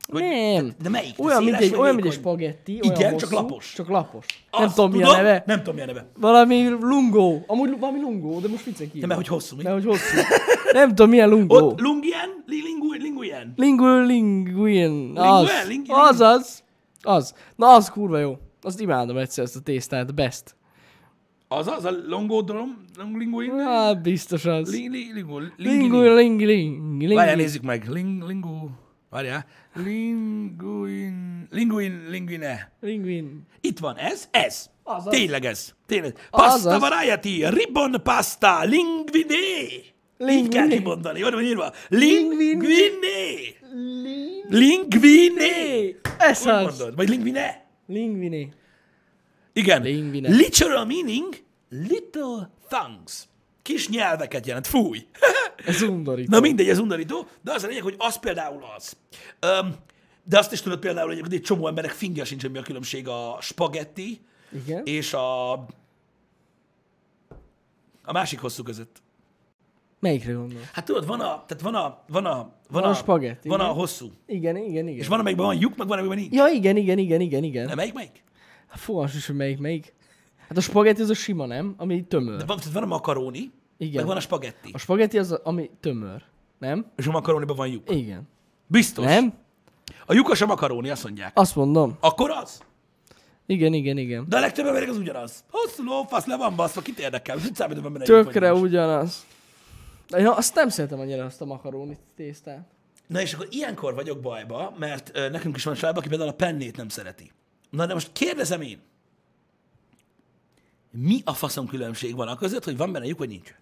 S2: Vagy-
S1: Nem.
S2: De melyik?
S1: Olyan, mint
S2: Széles
S1: egy,
S2: vagy
S1: olyan, mint egy
S2: vékony?
S1: spagetti.
S2: Igen,
S1: olyan hosszú,
S2: csak lapos.
S1: Csak lapos. nem
S2: Azt
S1: tudom, mi a neve.
S2: Nem tudom, mi a neve.
S1: Valami lungó. Amúgy lu- valami lungó, de most viccen kívül.
S2: Nem, mert hogy hosszú. Mi?
S1: Mert hogy hosszú. nem tudom, milyen lungó.
S2: Ott lungien, li- lingu, linguen.
S1: Lingu, linguin. Az.
S2: lingu-
S1: az, az. Az. Na, az kurva jó. Azt imádom egyszer, ezt a tésztát. Best.
S2: Az az, a longodrom, long- linguin,
S1: Ah, biztos az.
S2: li- li- lingu,
S1: Lingu,
S2: lingu.
S1: ling, ling,
S2: Várjál,
S1: ling.
S2: nézzük meg. Ling, lingu, várjál. Linguin, linguin, linguine.
S1: Linguin.
S2: Itt van ez, ez.
S1: Azaz.
S2: Tényleg ez. Tényleg.
S1: Azaz.
S2: Pasta variety, ribbon pasta, linguine. Így kell
S1: Linguine.
S2: kimondani, jól van írva.
S1: Linguine.
S2: Linguine. Linguine.
S1: Ez
S2: Úgy
S1: az.
S2: mondod, vagy lingvine?
S1: Lingviné.
S2: Igen.
S1: Lingvine.
S2: Literal meaning little tongues. Kis nyelveket jelent. Fúj.
S1: Ez undorító.
S2: Na mindegy, ez undorító, de az a lényeg, hogy az például az. Öm, de azt is tudod például, hogy egy csomó emberek fingja sincs, hogy mi a különbség a spagetti
S1: Igen.
S2: és a a másik hosszú között.
S1: Melyikre gondol?
S2: Hát tudod, van a, tehát van a, van a, van,
S1: a spagetti,
S2: van a
S1: igen.
S2: hosszú.
S1: Igen, igen,
S2: És
S1: igen.
S2: van, amelyikben van lyuk, meg van, amelyikben nincs.
S1: Ja, igen, igen, igen, igen, igen. Hát
S2: Nem, melyik, melyik?
S1: Fogalmas is, hogy melyik, melyik. Hát a spagetti az a sima, nem? Ami tömör.
S2: Van, tehát van a makaróni,
S1: Igen.
S2: meg van a spagetti.
S1: A spagetti az, a- ami tömör. Nem?
S2: És a makaróniban van lyuk.
S1: Igen.
S2: Biztos.
S1: Nem?
S2: A lyukas a makaróni, azt mondják.
S1: Azt mondom.
S2: Akkor az.
S1: Igen, igen, igen.
S2: De a legtöbb emberek az ugyanaz. Hosszú lófasz, le van baszva, kit érdekel? Mit számít, hogy van benne lyuk vagy
S1: Tökre
S2: nincs?
S1: ugyanaz. Én azt nem szeretem annyira azt a makaróni tésztát.
S2: Na és akkor ilyenkor vagyok bajba, mert ö, nekünk is van családban, aki például a pennét nem szereti. Na de most kérdezem én, mi a faszom különbség van a között, hogy van benne lyuk, vagy nincs?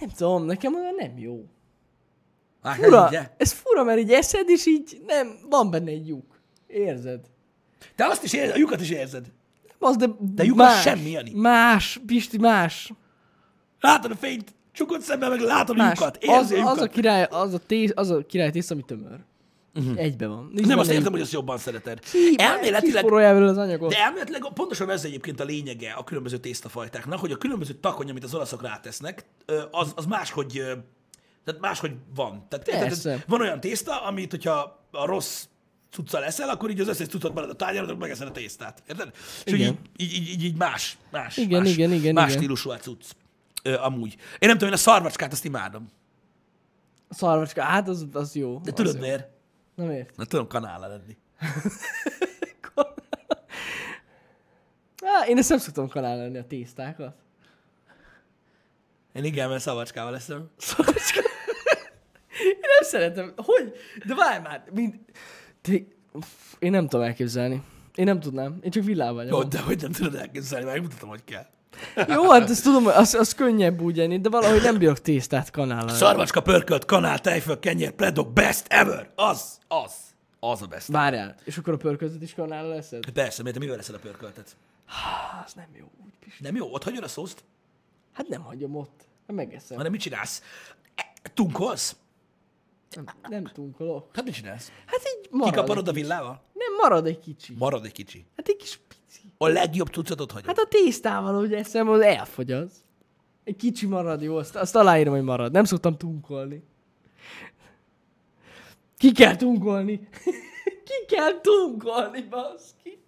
S1: Nem tudom, nekem olyan nem jó.
S2: Á, hát
S1: Fura,
S2: ugye?
S1: ez fura, mert így eszed, és így nem, van benne egy lyuk. Érzed?
S2: Te azt is érzed, a lyukat is érzed.
S1: Az, de,
S2: De lyuk az
S1: más,
S2: semmi, Jani.
S1: Más, Pisti, más.
S2: Látod a fényt, csukott szemmel, meg látod a
S1: más.
S2: lyukat.
S1: Az,
S2: Érzi a
S1: az, a
S2: lyukat.
S1: király, az, a tész, az a király tész, ami tömör. Uh-huh. Egybe van. Nincs
S2: Mhm. Nem, azt
S1: benne
S2: értem,
S1: lyuk.
S2: hogy azt jobban szereted.
S1: Ki-
S2: Elméletileg
S1: Kisporolja belőle az anyagot.
S2: De elméletileg pontosan ez egyébként a lényege a különböző tésztafajtáknak, hogy a különböző takony, amit az olaszok rátesznek, ö, az, az máshogy, ö, tehát máshogy van. Tehát, tehát
S1: Persze.
S2: tehát van olyan tészta, amit, hogyha a rossz cucca leszel, akkor így az összes cuccot marad a tányérod, akkor megeszed a tésztát. Érted? És hogy így,
S1: Igen.
S2: így, így, így, így más, más,
S1: Igen,
S2: más,
S1: igen, igen,
S2: más
S1: igen.
S2: stílusú a cucc. Ö, amúgy. Én nem tudom, én a szarvacskát azt imádom.
S1: Szarvacska, hát az, az jó.
S2: De
S1: az
S2: tudod
S1: jó.
S2: miért?
S1: Nem ért.
S2: Na tudom kanállal lenni.
S1: Á, én ezt nem szoktam kanálni a tésztákat.
S2: Én igen, mert szavacskával leszem.
S1: Szarvacska. Én nem szeretem. Hogy? De várj már. Mind... De... Uff, Én nem tudom elképzelni. Én nem tudnám. Én csak villám
S2: Jó,
S1: vagyok.
S2: de hogy nem tudod elképzelni, megmutatom, hogy kell.
S1: Jó, hát ezt tudom, hogy az, az könnyebb úgy enni, de valahogy nem bírok tésztát kanállal.
S2: Szarvacska, pörkölt, kanál, tejföl, kenyér, pledok, best ever! Az, az, az a best.
S1: Várjál, és akkor a pörközöt is kanállal leszed?
S2: Persze, mert te mivel leszel a pörköltet?
S1: Á, Az nem jó. úgy pis-
S2: Nem jó, ott hagyod a szószt,
S1: Hát nem hagyom ott. Hát megeszem.
S2: hanem mit csinálsz? E, Tunkolsz?
S1: Nem, nem tunkolok.
S2: Hát mit csinálsz?
S1: Hát így marad.
S2: Kikaparod
S1: egy-
S2: a villával?
S1: Nem, marad egy kicsi.
S2: Marad egy kicsi.
S1: Hát egy kis pici.
S2: A legjobb tucatot hagyod.
S1: Hát a tésztával, hogy eszem, az elfogy az. Egy kicsi marad, jó, azt, azt aláírom, hogy marad. Nem szoktam tunkolni. Ki kell tunkolni? Ki kell tunkolni, baszki?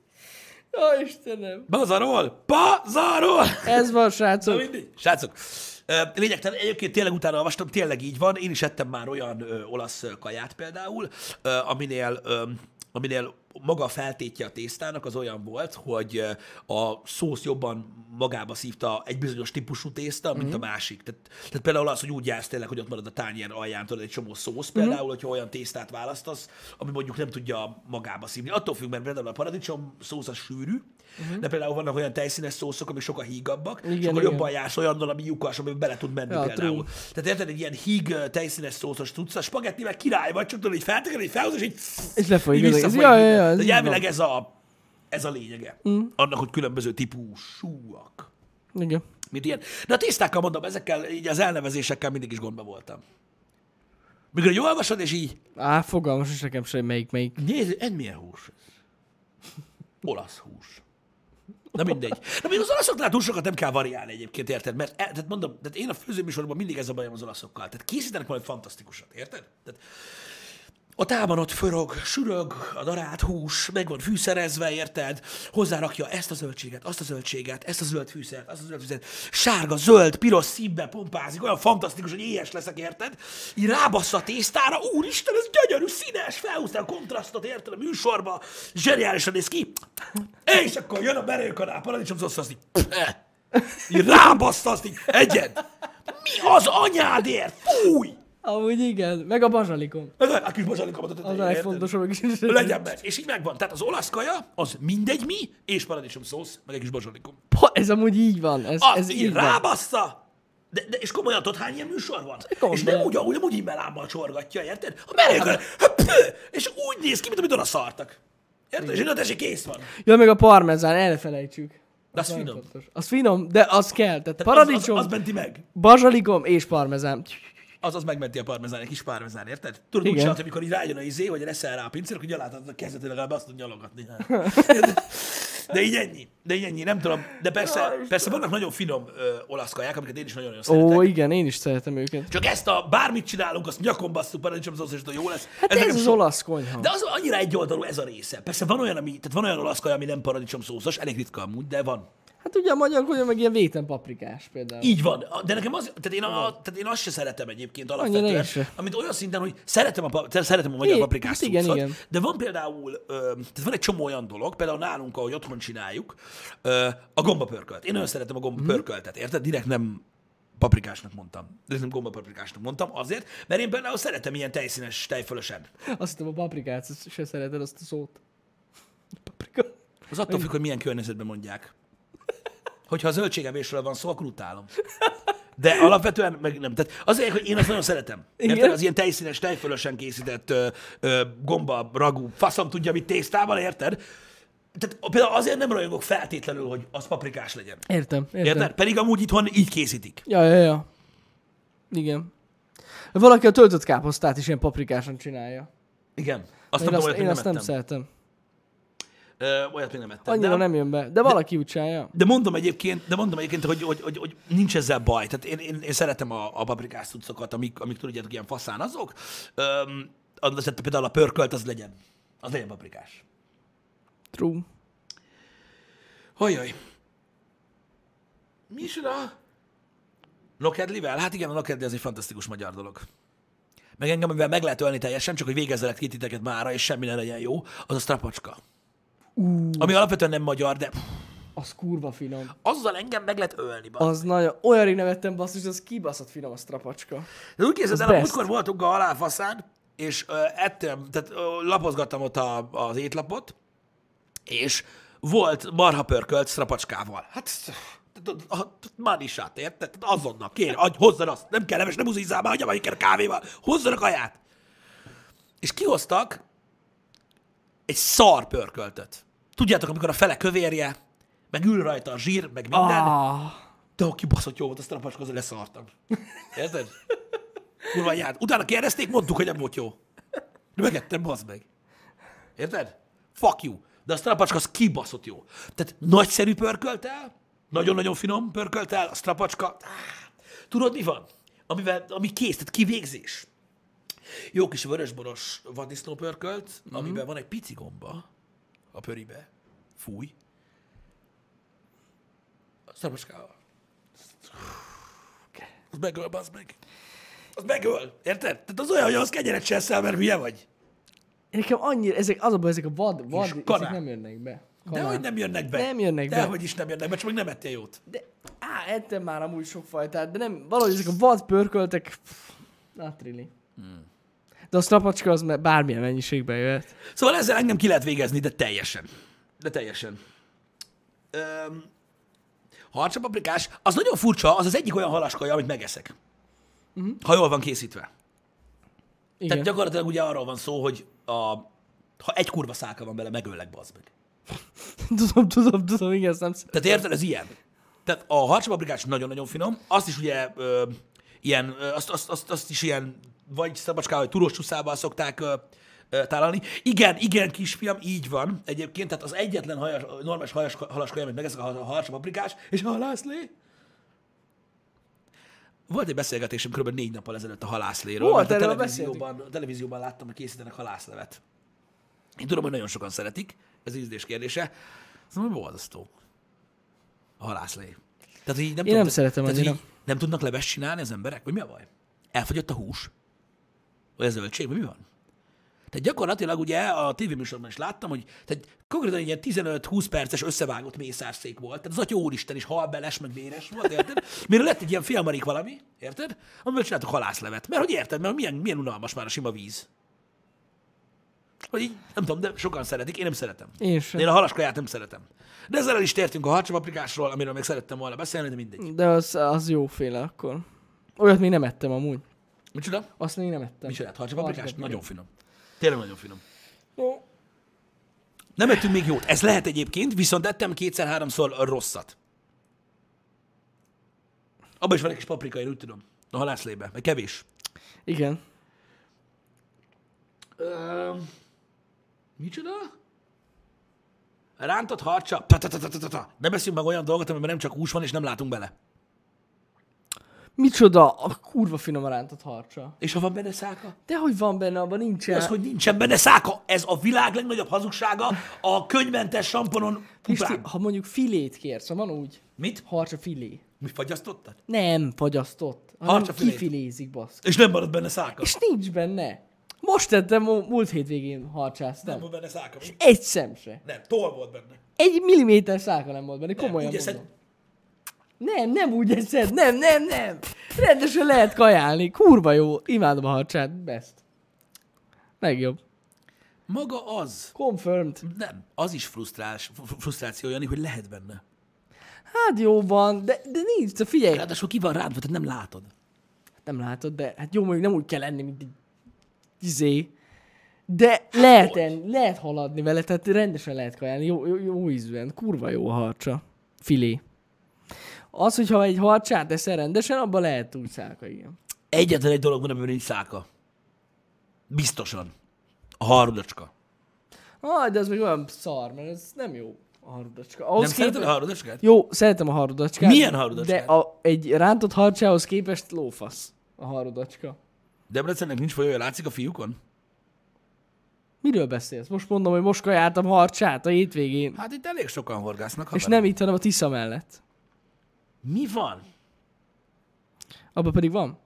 S1: Ó, Istenem.
S2: Bazarol! Bazarol!
S1: Ez van,
S2: Na
S1: srácok.
S2: mindegy. Srácok, ö, lényegtelen, egyébként tényleg utána olvastam, tényleg így van. Én is ettem már olyan ö, olasz ö, kaját például, ö, aminél, ö, aminél maga a feltétje a tésztának az olyan volt, hogy ö, a szósz jobban magába szívta egy bizonyos típusú tészta,
S1: Mhm.
S2: mint a másik. Tehát, tehát például az, hogy úgy jársz tényleg, hogy ott marad a tányér alján tudod, egy csomó szósz
S1: Mhm.
S2: például, hogyha olyan tésztát választasz, ami mondjuk nem tudja magába szívni. Attól függ, mert például a paradicsom szósz a sűrű, de például vannak olyan tejszínes szószok, amik sokkal hígabbak, igen, és
S1: Mhm. Igen,
S2: akkor
S1: igen.
S2: jobban jársz olyannal, ami lyukas, amiben bele tud menni
S1: Ja,
S2: például. Tehát érted, egy ilyen híg ö, tejszínes szószos tudsz, a spagetti meg király vagy, csak tudod, így feltekered, így felhoz, és így...
S1: És lefolyik az egész.
S2: visszafolyik
S1: Ja, ja,
S2: minden.
S1: ja, ez
S2: Tehát
S1: így van. Mm.
S2: elvileg ez a, ez a lényege. Annak, hogy különböző típusúak.
S1: Igen.
S2: Mint ilyen. De a tisztákkal mondom, ezekkel, így az elnevezésekkel mindig is gondba voltam. Mikor így olvasod, és így,
S1: Á, fogalmas is nekem sem, melyik, melyik.
S2: Nézd, ez milyen hús ez? Olasz hús. Na mindegy. Na még az olaszoknál túl sokat nem kell variálni egyébként, érted? Mert e, tehát mondom, tehát én a főzőműsorban mindig ez a bajom az olaszokkal. Tehát készítenek valami fantasztikusat, érted? Tehát a tában ott förög, sürög, a darált hús, meg van fűszerezve, érted? Hozzárakja ezt a zöldséget, azt a zöldséget, ezt a zöld fűszert, azt a zöld fűszert, sárga, zöld, piros színbe pompázik, olyan fantasztikus, hogy éhes leszek, érted? Így rábassza a tésztára, úristen, ez gyönyörű, színes, felhúzta a kontrasztot, érted a műsorba, zseniálisan néz ki. És akkor jön a merőkanál, paradicsom szósz, azt így, így rábassza azt így, egyen. Mi az anyádért? Fúj!
S1: Amúgy igen, meg a bazsalikom.
S2: Ez a a kis bazsalikomat.
S1: Az a legfontosabb. Is.
S2: Legyen meg. És így megvan. Tehát az olasz kaja, az mindegy mi, és paradicsom szósz, meg egy kis bazsalikom.
S1: Pa, ez amúgy így van. Ez,
S2: Az
S1: ez
S2: így,
S1: így van.
S2: rábassza! De, de, és komolyan tudod, hány ilyen műsor van?
S1: Gondolom.
S2: És nem úgy, ahogy nem úgy imelámmal csorgatja, érted? A melegör, höpö, és úgy néz ki, mint amit oda szartak. Érted? És én tessék, kész van.
S1: Ja, meg a parmezán, erre felejtsük.
S2: De az
S1: Nagyon
S2: finom.
S1: fontos. Az finom, de az kell. Tehát
S2: Tehát az, az,
S1: paradicsom,
S2: az, menti meg.
S1: bazsalikom és parmezán.
S2: Az az megmenti a parmezán, egy kis parmezán, érted? Tudod, úgy
S1: Igen.
S2: csinálta, amikor így rájön a izé, hogy reszel rá a pincér, hogy alátad a kezed, legalább azt tud nyalogatni. De így ennyi. De így ennyi, nem tudom. De persze, persze vannak nagyon finom ö, olasz kaják, amiket én is nagyon-nagyon
S1: Ó,
S2: szeretek.
S1: igen, én is szeretem őket.
S2: Csak ezt a bármit csinálunk, azt nyakon basszuk, paradicsom szósz, és jó lesz.
S1: Hát ez,
S2: nekem
S1: ez az
S2: sok.
S1: olasz konyha.
S2: De az annyira egyoldalú ez a része. Persze van olyan, ami, tehát van olyan olasz kaja, ami nem paradicsom szószos, elég ritka amúgy, de van.
S1: Hát ugye a magyar konyha meg ilyen véten paprikás például.
S2: Így van. A- De nekem az, tehát én, a, tehát én azt se szeretem egyébként
S1: Annyira
S2: alapvetően,
S1: én se.
S2: amit olyan szinten, hogy szeretem a, pa- tehát szeretem a magyar
S1: Igen,
S2: paprikás
S1: hát igen,
S2: cuccot,
S1: igen.
S2: de van például, ö, tehát van egy csomó olyan dolog, például nálunk, ahogy otthon csináljuk, ö, a gombapörkölt. Én nagyon szeretem a
S1: Mhm.
S2: gombapörköltet, érted? Direkt nem paprikásnak mondtam. De nem gombapaprikásnak mondtam azért, mert én például szeretem ilyen tejszínes, tejfölösen.
S1: Azt hittem a paprikát azt se szereted azt a szót. Paprika.
S2: Az attól függ, hogy milyen környezetben mondják. Hogyha a zöldségemésről van szó, akkor utálom. De alapvetően meg nem. Tehát azért, hogy én azt nagyon szeretem.
S1: Igen.
S2: Érted? Az ilyen tejszínes, tejfölösen készített ö, ö, gomba, ragú, faszom tudja, mit tésztával, érted? Tehát például azért nem rajongok feltétlenül, hogy az paprikás legyen.
S1: Értem, értem.
S2: Érted? Pedig amúgy itthon így készítik.
S1: Ja, ja, ja. Igen. Valaki a töltött káposztát is ilyen paprikásan csinálja.
S2: Igen. Azt
S1: Én
S2: nem
S1: azt,
S2: tudom,
S1: én
S2: olyat
S1: azt nem
S2: még nem ettem.
S1: szeretem.
S2: Ö, Olyat még nem ettem.
S1: Annyira
S2: de,
S1: nem jön be. De valaki úgy csinálja.
S2: De mondom egyébként, de mondom egyébként, hogy, hogy, hogy, hogy nincs ezzel baj. Tehát én, én, én szeretem a, a paprikás cuccokat, amik, amik tudjátok, ilyen faszán azok. Öm, az, tehát például a pörkölt az legyen. Az legyen paprikás.
S1: True.
S2: Hajjaj. Mi is oda? Nokedlivel? Hát igen, a nokedli az egy fantasztikus magyar dolog. Meg engem, amivel meg lehet ölni teljesen, csak hogy végezzelek ki titeket mára, és semmi ne legyen jó, az a strapacska. Uh. Ami alapvetően nem magyar, de
S1: Az kurva finom.
S2: azzal engem meg lehet ölni. Ba.
S1: Az nagyon... Olyan rég nevettem basszus, az kibaszott finom a strapacska.
S2: De úgy
S1: Az
S2: képzeld el,
S1: best.
S2: múltkor voltunk a halálfaszán, és ö, ettem, tehát ö, lapozgattam ott a, az étlapot, és volt marha pörkölt strapacskával. Hát, tudod, a- tudod, már is át, érted? Tehát Azonnal, kér, adj, hozzad azt, nem kell leves, nem uzizzál már, hagyja már inkább kávéval, hozzanak kaját. És kihoztak egy szar pörköltöt. Tudjátok, amikor a fele kövérje, meg ül rajta a zsír, meg minden,
S1: Ah,
S2: de ha kibaszott jó volt, azt rapacskoz, leszartam. Érted? Kurva ját. Utána kérdezték, mondtuk, hogy nem volt jó. De megettem, bazd meg. Érted? Fuck you. De a strapacska az kibaszott jó. Tehát nagyszerű pörköltel, nagyon-nagyon finom pörköltel, a strapacska. áh. Tudod, mi van? Amivel, ami kész, tehát kivégzés. Jó kis vörösboros vaddisznó pörkölt, mm-hmm. amiben van egy pici gomba a pöribe. Fúj. A strapacskával. Az megöl, bazd meg. Az megöl, érted? Tehát az olyan, hogy az kenyeret se eszel, mert hülye vagy.
S1: nekem annyira... Ezek, az a baj, ezek a vad, vad ezek
S2: kanál.
S1: nem jönnek be.
S2: De
S1: Kanál.
S2: hogy nem jönnek be.
S1: Nem jönnek be.
S2: De hogy is nem jönnek be, csak még nem ettél jót.
S1: De, á, ettem már amúgy sok fajtát, de nem, valahogy ezek a vad pörköltek, pff, not really. De a strapacska az me- bármilyen mennyiségben jöhet.
S2: Szóval ezzel engem ki lehet végezni, de teljesen. De teljesen. Öm, harcsapaprikás, az nagyon furcsa, az az egyik olyan halaskaja, amit megeszek. Uh-huh. Ha jól van készítve.
S1: Mhm. Igen.
S2: Tehát gyakorlatilag ugye arról van szó, hogy a, ha egy kurva szálka van bele, megöllek, bazd meg.
S1: tudom, tudom, tudom, igen, ezt nem szeret.
S2: Tehát érted, ez ilyen. Tehát a harcsapaprikás nagyon-nagyon finom. Azt is ugye ö, ilyen, ö, azt, azt, azt, azt is ilyen, vagy szabacskával, vagy turós csuszával szokták ö, ö, tálalni. Igen, igen, kisfiam, így van egyébként. Tehát az egyetlen hajas, normális hajas, halaskaja, amit megeszek, a har- a harcsapaprikás, és a halászlé. Volt egy beszélgetésem kb. négy nappal ezelőtt a halászléről.
S1: Volt,
S2: mert a
S1: erről
S2: televízióban, a televízióban láttam, hogy készítenek halászlevet. Én tudom, hogy nagyon sokan szeretik, ez ízlés kérdése. Szóval borzasztó. A halászlé. Tehát, hogy így nem
S1: Én nem
S2: te-
S1: szeretem
S2: tehát, hogy
S1: annyira.
S2: így Nem tudnak leves csinálni az emberek? Vagy mi a baj? Elfogyott a hús? Vagy a zöldség? Vagy mi van? Tehát gyakorlatilag ugye a tévéműsorban is láttam, hogy tehát konkrétan egy ilyen 15-20 perces összevágott mészárszék volt. Tehát az atya úristen is halbeles, meg véres volt, érted? Mire lett egy ilyen filmarik valami, érted? Amivel csináltak halászlevet. Mert hogy érted, mert milyen, milyen unalmas már a sima víz. Hogy így, nem tudom, de sokan szeretik, én nem szeretem.
S1: Én sem.
S2: Én a halaskaját nem szeretem. De ezzel el is tértünk a harcsapaprikásról, amiről még szerettem volna beszélni, de mindegy.
S1: De az, az jó féle akkor. Olyat még nem ettem amúgy.
S2: Micsoda?
S1: Azt még nem ettem.
S2: Micsoda? Harcsapaprikás?
S1: Harcsapaprikás.
S2: Nagyon finom. Tényleg nagyon finom.
S1: Jó.
S2: Nem ettünk még jót. Ez lehet egyébként, viszont ettem kétszer-háromszor rosszat. Abban is van egy kis paprika, én úgy tudom. A halászlébe, meg kevés.
S1: Igen.
S2: Öm, micsoda? Rántott harcsa. Ta, ta, ta, ta, ta, ta. Ne beszéljünk meg olyan dolgot, amiben nem csak hús van, és nem látunk bele.
S1: Micsoda a kurva finom a rántott harcsa.
S2: És ha van benne száka?
S1: De hogy van benne, abban nincsen.
S2: Az, hogy nincsen benne száka, ez a világ legnagyobb hazugsága a könyvmentes samponon
S1: Pisti,
S2: puprán.
S1: ha mondjuk filét kérsz, ha van úgy,
S2: Mit?
S1: harcsa filé.
S2: Mi fagyasztottad?
S1: Nem fagyasztott, hanem
S2: Harcsafilét.
S1: kifilézik, baszki.
S2: És nem maradt benne száka.
S1: És nincs benne. Most tettem, mu- múlt hétvégén harcsáztam.
S2: Nem volt benne száka. mi?
S1: Egy szem se.
S2: Nem, toll volt benne.
S1: Egy milliméter száka nem volt benne, komolyan
S2: Úgy
S1: nem,
S2: eszed,
S1: mondom. Nem, nem úgy eszed, nem, nem, nem. Rendesen lehet kajálni, kurva jó. Imádom a harcsát, best. Legjobb.
S2: maga az,
S1: Confirmed.
S2: nem, az is frusztrás, fr- frusztráció, Jani, hogy lehet benne.
S1: Hát jó van, de, de nincs, de figyelj.
S2: Ráadásul ki van rádva, tehát nem látod.
S1: Nem látod, de hát jó, mondjuk nem úgy kell lenni, mint egy izé. De lehet,
S2: hogy?
S1: en, lehet haladni vele, tehát rendesen lehet kajálni, jó, jó, jó ízűen, kurva jó a harcsa, filé. Az, hogyha egy harcsát eszel rendesen, abban lehet úgy szálka, igen.
S2: Egyetlen egy dolog van, amiben nincs száka. Biztosan. A harudacska.
S1: Ah, de az még olyan szar, mert ez nem jó a harudacska. Ahhoz
S2: Nem szereted a harudacskát?
S1: Jó, szeretem a harudacskát.
S2: Milyen harudacskát?
S1: De a, egy rántott harcsához képest lófasz a harudacska.
S2: Debrecennek nincs folyója, látszik a fiúkon?
S1: Miről beszélsz? Most mondom, hogy most kajáltam harcsát a hétvégén.
S2: Hát itt elég sokan horgásznak.
S1: És
S2: haverom.
S1: nem itt, hanem a Tisza mellett.
S2: Mi van?
S1: Abban pedig van.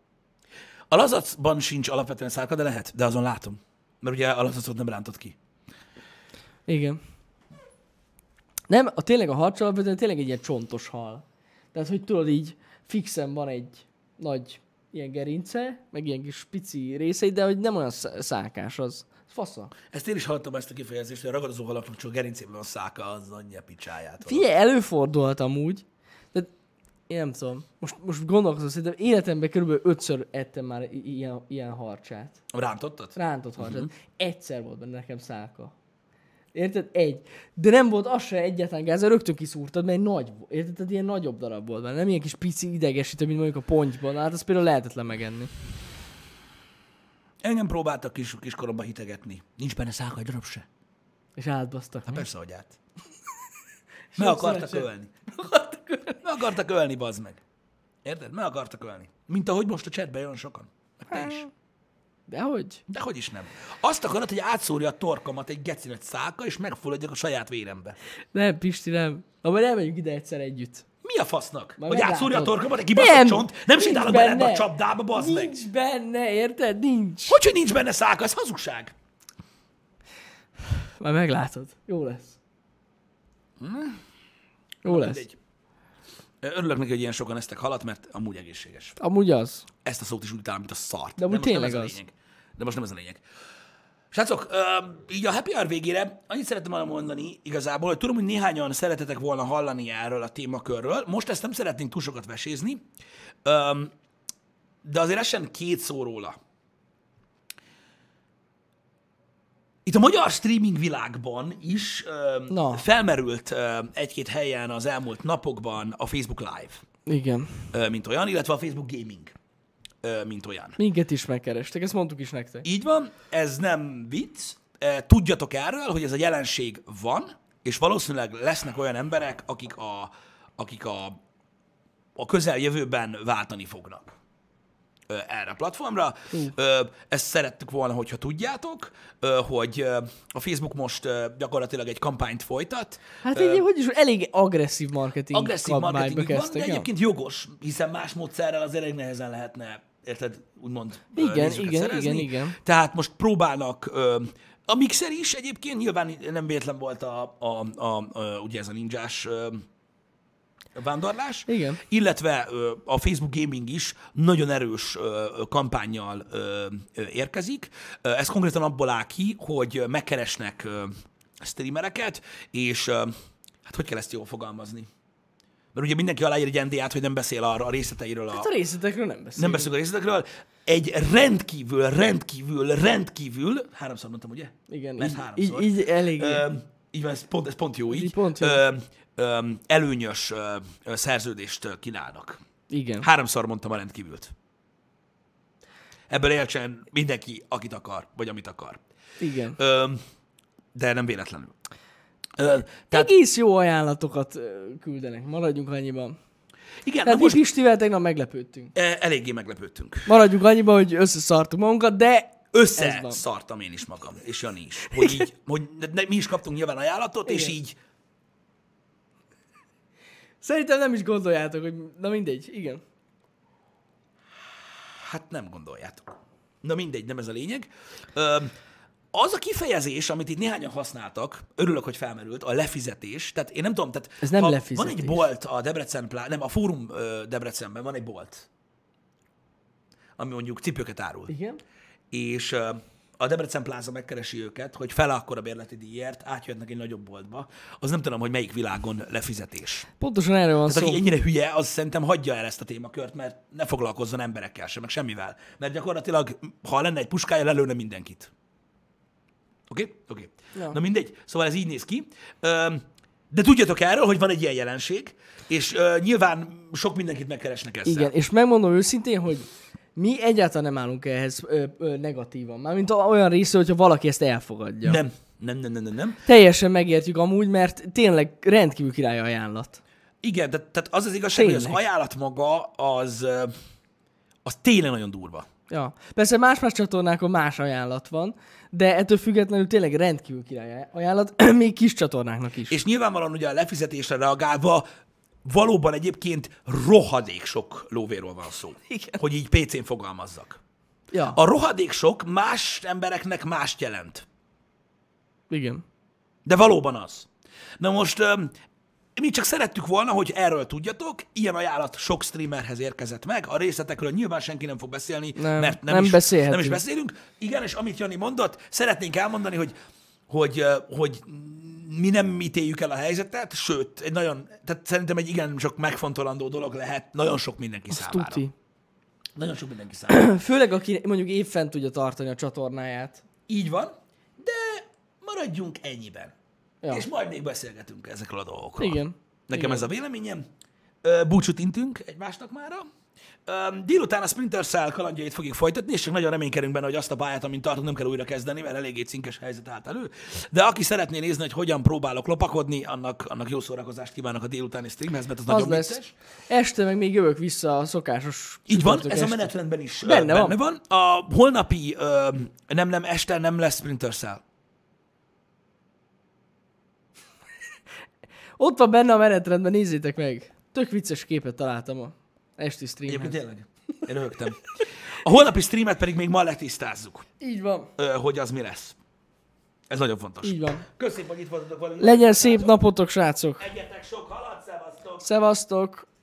S2: A lazacban sincs alapvetően szárka, de lehet, de azon látom. Mert ugye a lazacot nem rántott ki.
S1: Igen. Nem, a tényleg a harcs alapvetően tényleg egy ilyen csontos hal. Tehát, hogy tudod így, fixen van egy nagy ilyen gerince, meg ilyen kis pici részei, de hogy nem olyan sz- szákás az. Fasza.
S2: Ezt én is hallottam ezt a kifejezést, hogy a ragadozó halaknak csak a gerincében van száka, az anyja picsáját.
S1: Figyelj, előfordulhat amúgy. De én nem tudom. Most, most gondolkozom, szerintem életemben körülbelül ötször ettem már i- ilyen, ilyen harcsát.
S2: Rántottad?
S1: Rántott harcsát.
S2: Mhm.
S1: Egyszer volt benne nekem száka. Érted? Egy. De nem volt az se egyetlen gáz, rögtön kiszúrtad, mert egy nagy volt. Érted? Tehát ilyen nagyobb darab volt benne. Nem ilyen kis pici idegesítő, mint mondjuk a pontyban. Hát azt például lehetetlen megenni.
S2: Engem próbáltak kis, kiskoromban hitegetni. Nincs benne száka egy darab se.
S1: És átbasztak.
S2: Hát persze, hogy át. Meg akartak
S1: szerencse.
S2: ölni. Meg akartak ölni. Meg akartak ölni, bazd meg. Érted? Meg akartak ölni. Mint ahogy most a chatben jön sokan. Meg te is.
S1: Dehogy?
S2: De hogy is nem. Azt akarod, hogy átszórja a torkomat egy gecinet száka, és megfulladjak a saját vérembe.
S1: Nem, Pisti, nem. Na, majd elmegyünk ide egyszer együtt.
S2: Mi a fasznak?
S1: Majd
S2: hogy
S1: meglátod.
S2: átszúrja a torkomat egy kibaszott nem, csont? Nem
S1: nincs
S2: sétálok bele ebbe a
S1: benne.
S2: csapdába, bazd meg.
S1: Nincs benne, érted? Nincs.
S2: Hogy, hogy nincs benne száka? Ez hazugság.
S1: Majd meglátod. Jó lesz. Jó lesz.
S2: Mindegy. Ö, Örülök neki, hogy ilyen sokan eztek halat, mert amúgy egészséges.
S1: Amúgy az.
S2: Ezt a szót is úgy utálom, mint a szart.
S1: amúgy
S2: most nem
S1: tényleg
S2: ez a
S1: az.
S2: lényeg. De most nem ez a lényeg. Srácok, ö, így a happy hour végére annyit szerettem volna mondani igazából, hogy tudom, hogy néhányan szeretetek volna hallani erről a témakörről. Most ezt nem szeretnénk túl sokat vesézni, ö, de azért esen két szó róla. Itt a magyar streaming világban is ö,
S1: Na.
S2: felmerült ö, egy-két helyen az elmúlt napokban a Facebook Live,
S1: Igen.
S2: ö, mint olyan, illetve a Facebook Gaming, ö, mint olyan.
S1: Minket is megkerestek, ezt mondtuk is nektek.
S2: Így van, ez nem vicc. E, Tudjatok erről, hogy ez a jelenség van, és valószínűleg lesznek olyan emberek, akik a, akik a, a közeljövőben váltani fognak ö, erre a platformra. Ö, Ezt szerettük volna, hogyha tudjátok, ö, hogy ö, a Facebook most ö, gyakorlatilag egy kampányt folytat,
S1: Hát egy, hogy is, elég agresszív marketing
S2: agresszív marketingük van, de
S1: ja?
S2: egyébként jogos, hiszen más módszerrel az elég nehezen lehetne, érted, úgmond ö,
S1: Igen,
S2: nézőket
S1: igen,
S2: szerezni.
S1: igen, igen.
S2: Tehát most próbálnak, ö, a Mixer is egyébként nyilván nem véletlen volt a, a, a, a ugye ez a ninjás ö, vándorlás,
S1: Igen.
S2: illetve ö, a Facebook Gaming is nagyon erős ö, ö, kampányjal ö, ö, érkezik. Ö, Ez konkrétan abból áll ki, hogy ö, megkeresnek ö, streamereket, és ö, hát hogy kell ezt jól fogalmazni? Mert ugye mindenki aláír egy NDA-t, hogy nem beszél arra a részleteiről. A,
S1: Hát a részletekről nem beszélünk.
S2: nem beszélünk a részletekről. Egy rendkívül, rendkívül, rendkívül, háromszor mondtam, ugye?
S1: Igen,
S2: Mert
S1: így-
S2: háromszor.
S1: így- így elég-
S2: Ö, így van, ez pont, ez pont jó így.
S1: így pont jó.
S2: Ö, ö, előnyös ö, ö, szerződést ö, kínálnak.
S1: Igen.
S2: Háromszor mondtam a rendkívült. Ebből értsen mindenki, akit akar, vagy amit akar.
S1: igen.
S2: Ö, de nem véletlenül. Ö, tehát
S1: Egész jó ajánlatokat ö, küldenek, maradjunk annyiban.
S2: igen, na
S1: Tehát most
S2: most
S1: Pistivel tegnap meglepődtünk.
S2: ö, eléggé meglepődtünk.
S1: Maradjunk annyiban, hogy összeszartuk magunkat, de Ez van.
S2: összeszartam én is magam, és Jani is. Hogy így, hogy ne- ne, mi is kaptunk nyilván ajánlatot, és
S1: Igen.
S2: így
S1: szerintem nem is gondoljátok, hogy na mindegy, igen.
S2: hát nem gondoljátok. Na mindegy, nem ez a lényeg. Öm, az a kifejezés, amit itt néhányan használtak, örülök, hogy felmerült, a lefizetés. Tehát én nem tudom, tehát
S1: Ez nem
S2: ha
S1: lefizetés.
S2: Van egy bolt a Debrecen, plá- nem, a Fórum ö, Debrecenben van egy bolt, ami mondjuk cipőket árul.
S1: Igen?
S2: és ö, a a Debrecen Plaza megkeresi őket, hogy fel akkor a bérleti díjért, átjöhetnek egy nagyobb boltba, az nem tudom, hogy melyik világon lefizetés.
S1: Pontosan erről van
S2: Tehát
S1: szó.
S2: aki ennyire hülye, az szerintem hagyja el ezt a témakört, mert ne foglalkozzon emberekkel sem, meg semmivel. Mert gyakorlatilag, ha lenne egy puskája, lelőne mindenkit. Oké? Okay? Oké. Okay.
S1: Ja.
S2: Na mindegy. Szóval ez így néz ki. Öm, De tudjatok erről, hogy van egy ilyen jelenség, és ö, nyilván sok mindenkit megkeresnek ezzel.
S1: Igen, és megmondom őszintén, hogy mi egyáltalán nem állunk ehhez ö, ö, negatívan. Mármint a- olyan része, hogyha valaki ezt elfogadja.
S2: Nem, nem, nem, nem, nem, nem.
S1: Teljesen megértjük amúgy, mert tényleg rendkívül király ajánlat.
S2: Igen, tehát, tehát az az igazság, hogy az
S1: Tényleg.
S2: ajánlat maga az, ö, az tényleg nagyon durva.
S1: Ja. Persze más-más csatornákon más ajánlat van, de ettől függetlenül tényleg rendkívül király ajánlat, még kis csatornáknak is.
S2: És nyilvánvalóan ugye a lefizetésre reagálva valóban egyébként rohadék sok lóvéról van szó.
S1: Igen.
S2: Hogy így PC-n fogalmazzak.
S1: Ja, a...
S2: A rohadék sok más embereknek mást jelent.
S1: igen.
S2: De valóban az. Na most öm, mi csak szerettük volna, hogy erről tudjatok, ilyen ajánlat sok streamerhez érkezett meg, a részletekről nyilván senki nem fog beszélni,
S1: Nem,
S2: mert nem,
S1: nem
S2: is,
S1: beszélhetünk.
S2: nem is beszélünk. Igen, és amit Jani mondott, szeretnénk elmondani, hogy, hogy, ö, hogy mi nem ítéljük el a helyzetet, sőt, egy nagyon, tehát szerintem egy igen sok megfontolandó dolog lehet, nagyon sok mindenki
S1: Ez
S2: számára.
S1: tuti.
S2: Nagyon sok mindenki számára.
S1: Főleg, aki mondjuk évfent tudja tartani a csatornáját.
S2: Így van, de maradjunk ennyiben.
S1: Ja.
S2: Ja. És majd még beszélgetünk ezekről a dolgokról.
S1: Igen.
S2: Nekem ez a véleményem. Ö, Búcsút intünk egymásnak mára. Ö, Délután a Splinter Cell kalandjait fogjuk folytatni, és csak nagyon reménykedünk benne, hogy azt a pályát, amint tartunk, nem kell újra kezdeni, mert eléggé cinkes helyzet állt elő. De aki szeretné nézni, hogy hogyan próbálok lopakodni, annak, annak jó szórakozást kívánok a délutáni streamhez, mert az,
S1: Az
S2: nagyon
S1: lesz.
S2: vicces.
S1: Este meg még jövök vissza a szokásos
S2: Így van,
S1: csütörtök
S2: ez a
S1: este.
S2: menetrendben is ö,
S1: Benne van.
S2: benne van. A holnapi ö, nem nem este nem lesz Splinter Cell.
S1: Ott van benne a menetrendben, nézzétek meg. Tök vicces képet találtam a esti streamben.
S2: Egyébként tényleg. Én röhögtem. A holnapi streamet pedig még ma letisztázzuk,
S1: Így van.
S2: ö, hogy az mi lesz. Ez nagyon fontos.
S1: Így van.
S2: Köszönöm, hogy itt voltatok velünk.
S1: Legyen szép napotok, srácok!
S2: Egyetek sok halat, szevasztok!
S1: Szevasztok!